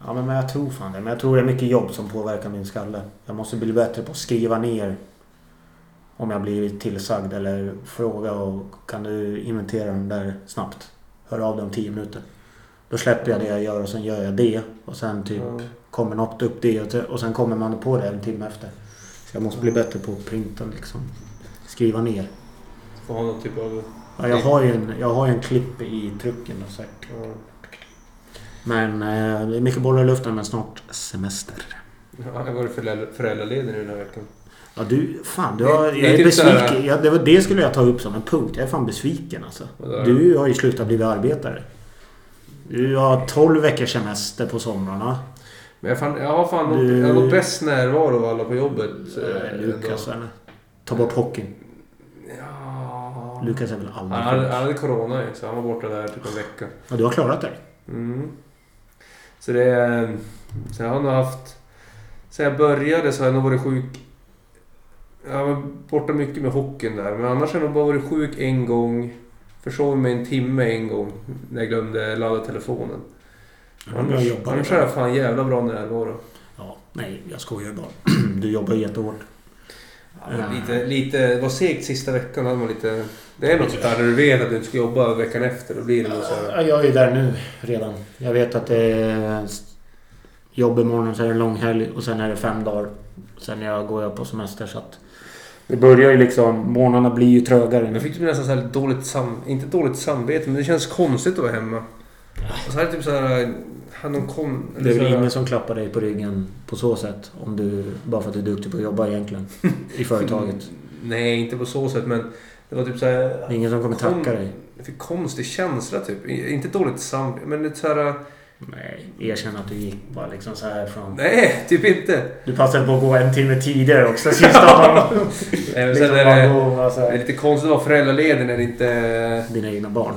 Ja, men men jag tror fan det. Men jag tror det är mycket jobb som påverkar min skalle. Jag måste bli bättre på att skriva ner om jag blivit tillsagd eller fråga och kan du inventera den där snabbt? Hör av dig om tio minuter. Då släpper jag det jag gör och sen gör jag det och sen typ Ja. kommer något upp det och te- och sen kommer man på det en timme efter. Så jag måste bli bättre på att printa liksom. Skriva ner. Får ha någon typ av... Ja, jag har ju en, jag har ju en klipp i trucken och så här. Ja. Men eh, det är mycket bollar i luften men snart semester. Ja, Jag har varit föräldra- föräldraledig nu den här veckan. Ja du, fan du Det- har, det är jag är typ så här- besviken. Jag, det, var, det skulle jag ta upp som en punkt. Jag är fan besviken alltså. Vad är det? Du har ju slutat bli arbetare. Du har 12 veckors semester på somrarna. Men jag, fan, jag har fan något, Du- jag har något bäst närvaro av alla på jobbet. eh, Eh, Lukas ändå. eller? Ta bort hockeyn. Ja. Lukas är väl aldrig Han hade, sjuk? han hade corona ju, så han var borta där typ en vecka. Ja, du har klarat dig. Mm. Så det... är- Så jag har nog haft... Sen jag började så har jag nog varit sjuk Jag var borta mycket med hockeyn där. Men annars har jag nog bara varit sjuk en gång. Försov mig en timme en gång när jag glömde ladda telefonen. Ja, men jag Annars, jobbar annars ju. har jag fan jävla bra närvaro. Ja, nej, jag skojar bara. Du jobbar jättehårt. Ja, men Lite, lite, det var segt sista veckan. Hade man lite, det är något sånt där när du vet att du inte ska jobba veckan efter. Då blir det något så här. Ja, jag är ju där nu redan. Jag vet att det är jobb imorgon, sen är det långhelg och sen är det fem dagar. Sen jag går jag på semester så att... Det börjar ju liksom... Morgnarna blir ju trögare. Jag fick typ nästan så här dåligt sam, inte dåligt samvete, men det känns konstigt att vara hemma. Och så här typ så här, hade någon kom, Det är så väl här- ingen som klappar dig på ryggen på så sätt. Om du, bara för att du är duktig på att jobba egentligen. I företaget. Nej, inte på så sätt, men det var typ så Det här... är ingen som kommer Kom- tacka dig. Jag fick konstig känsla typ. Inte dåligt samvete, men lite så här... Nej, erkänn att du gick bara liksom så här från... Nej, typ inte. Du passade på att gå en timme tidigare också sista dagen. Nej, Eh, men Liksom sen är bara det, gå och vara så det är här. lite konstigt att vara föräldraledig när det inte... Dina egna barn.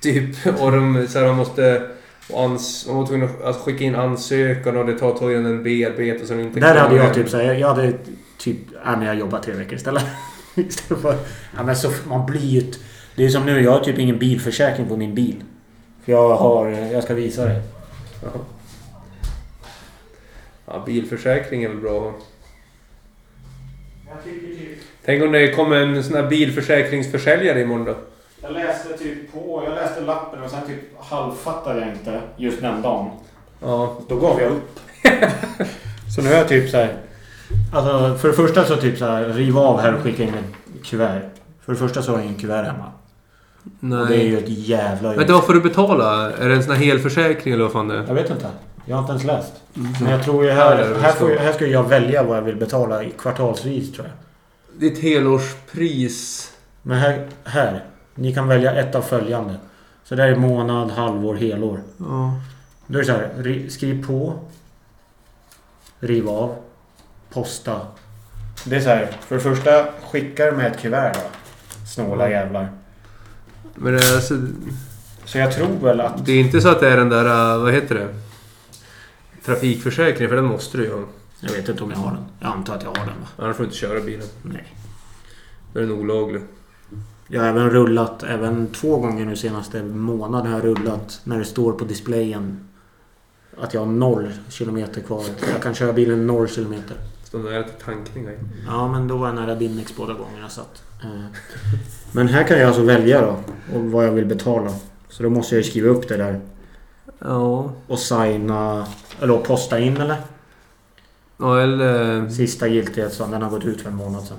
Typ, och de, så här, man måste... Och ans, man var tvungen att alltså, skicka in ansökan och det tar tog innan den bearbetas och den inte Där hade kommer jag hem. typ så här, jag hade typ, ja men jag jobbar tre veckor istället. istället för, ja men så man blir ju... ett- Det är som nu, jag har typ ingen bilförsäkring på min bil. För jag har, jag ska visa dig. Ja. Ja, bilförsäkring är väl bra att ha. Jag tycker typ, Tänk om det kommer en sån här bilförsäkringsförsäljare imorgon då? jag läste typ på, jag läste lappen och sen typ halvfattade jag inte just den dagen. Ja. Då gav jag upp. så nu är jag typ så här. Alltså för det första så typ så här, riv av här och skicka in ett kuvert. För det första så har jag ingen kuvert hemma. Och det är ju ett jävla jobb. Vänta, vad får du betala? Är det en sån här helförsäkring eller vad fan det är? Jag vet inte. Jag har inte ens läst. Men Mm. jag tror ju Ja, det här, är här, väl får, så. jag- här ska jag välja vad jag vill betala i kvartalsvis tror jag. Ditt helårspris... Men här, här. Ni kan välja ett av följande. Så där är månad, halvår, helår. Ja. Då är det så här. ri- Skriv på. Riv av. Posta. Det är så här. För det första, skickar med ett kuvert då. Snåla jävlar. Men det är, alltså, Så jag tror väl att... det är inte så att det är den där, eh, vad heter det? Trafikförsäkringen, för den måste du ju ha. Jag vet inte om jag har den. Jag antar att jag har den va? Annars får du inte köra bilen. Nej. Då är den olaglig. Jag har även rullat, även två gånger nu senaste månaden har jag rullat när det står på displayen att jag har noll kilometer kvar. Jag kan köra bilen noll kilometer. Står nära till tankning. här. Ja, men då var jag nära Binnex båda gångerna. Så att, eh. Men här kan jag alltså välja då och vad jag vill betala. Så då måste jag ju skriva upp det där Ja. och signa, eller posta in eller? Ja, eller... Sista giltighetsdagen, den har gått ut för en månad sedan.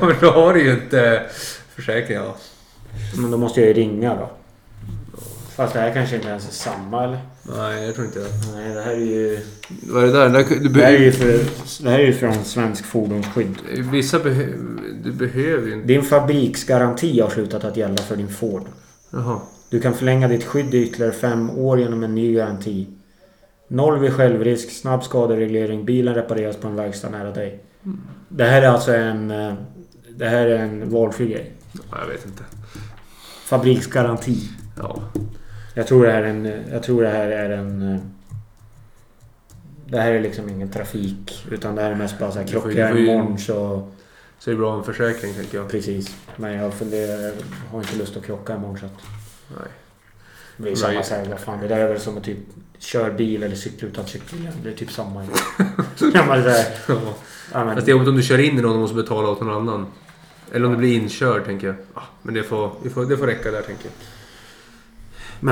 Men då har du ju inte försäkring. Ja. Men då måste jag ju ringa då. Fast det här kanske inte ens är samma eller? Nej, jag tror inte det. Nej, det här är ju... Vad är det där? Den där du Det här är be- ju, för, det här är ju från Svensk Fordonsskydd. vissa behö- du behöver ju inte... Din fabriksgaranti har slutat att gälla för din Ford. Jaha. Du kan förlänga ditt skydd i ytterligare fem år genom en ny garanti. Noll vid självrisk, snabb skadereglering, bilen repareras på en verkstad nära dig. Mm. Det här är alltså en... eh, Det här är en valfri grej. Ja, jag vet inte. Fabriksgaranti. Ja. Jag tror det här är en... Jag tror det här är en... eh, Det här är liksom ingen trafik. Utan det här är mest bara så här Du får ju- krockar du får ju- imorgon så... Så det är bra med en försäkring, tänker jag. Precis. Men jag funderar, jag har inte lust att krocka imorgon så att Nej. det blir Nej. samma så här, vad fan. Det där är väl som att typ kör bil eller cykla utan cykelhjälm. Det är typ samma. ja, men det där, Ja. ja, men, Fast det är jobbigt om du kör in i någon och måste betala åt någon annan. Eller om du blir inkörd, tänker jag. Ah, Men det får, det får, det får räcka där, tänker jag.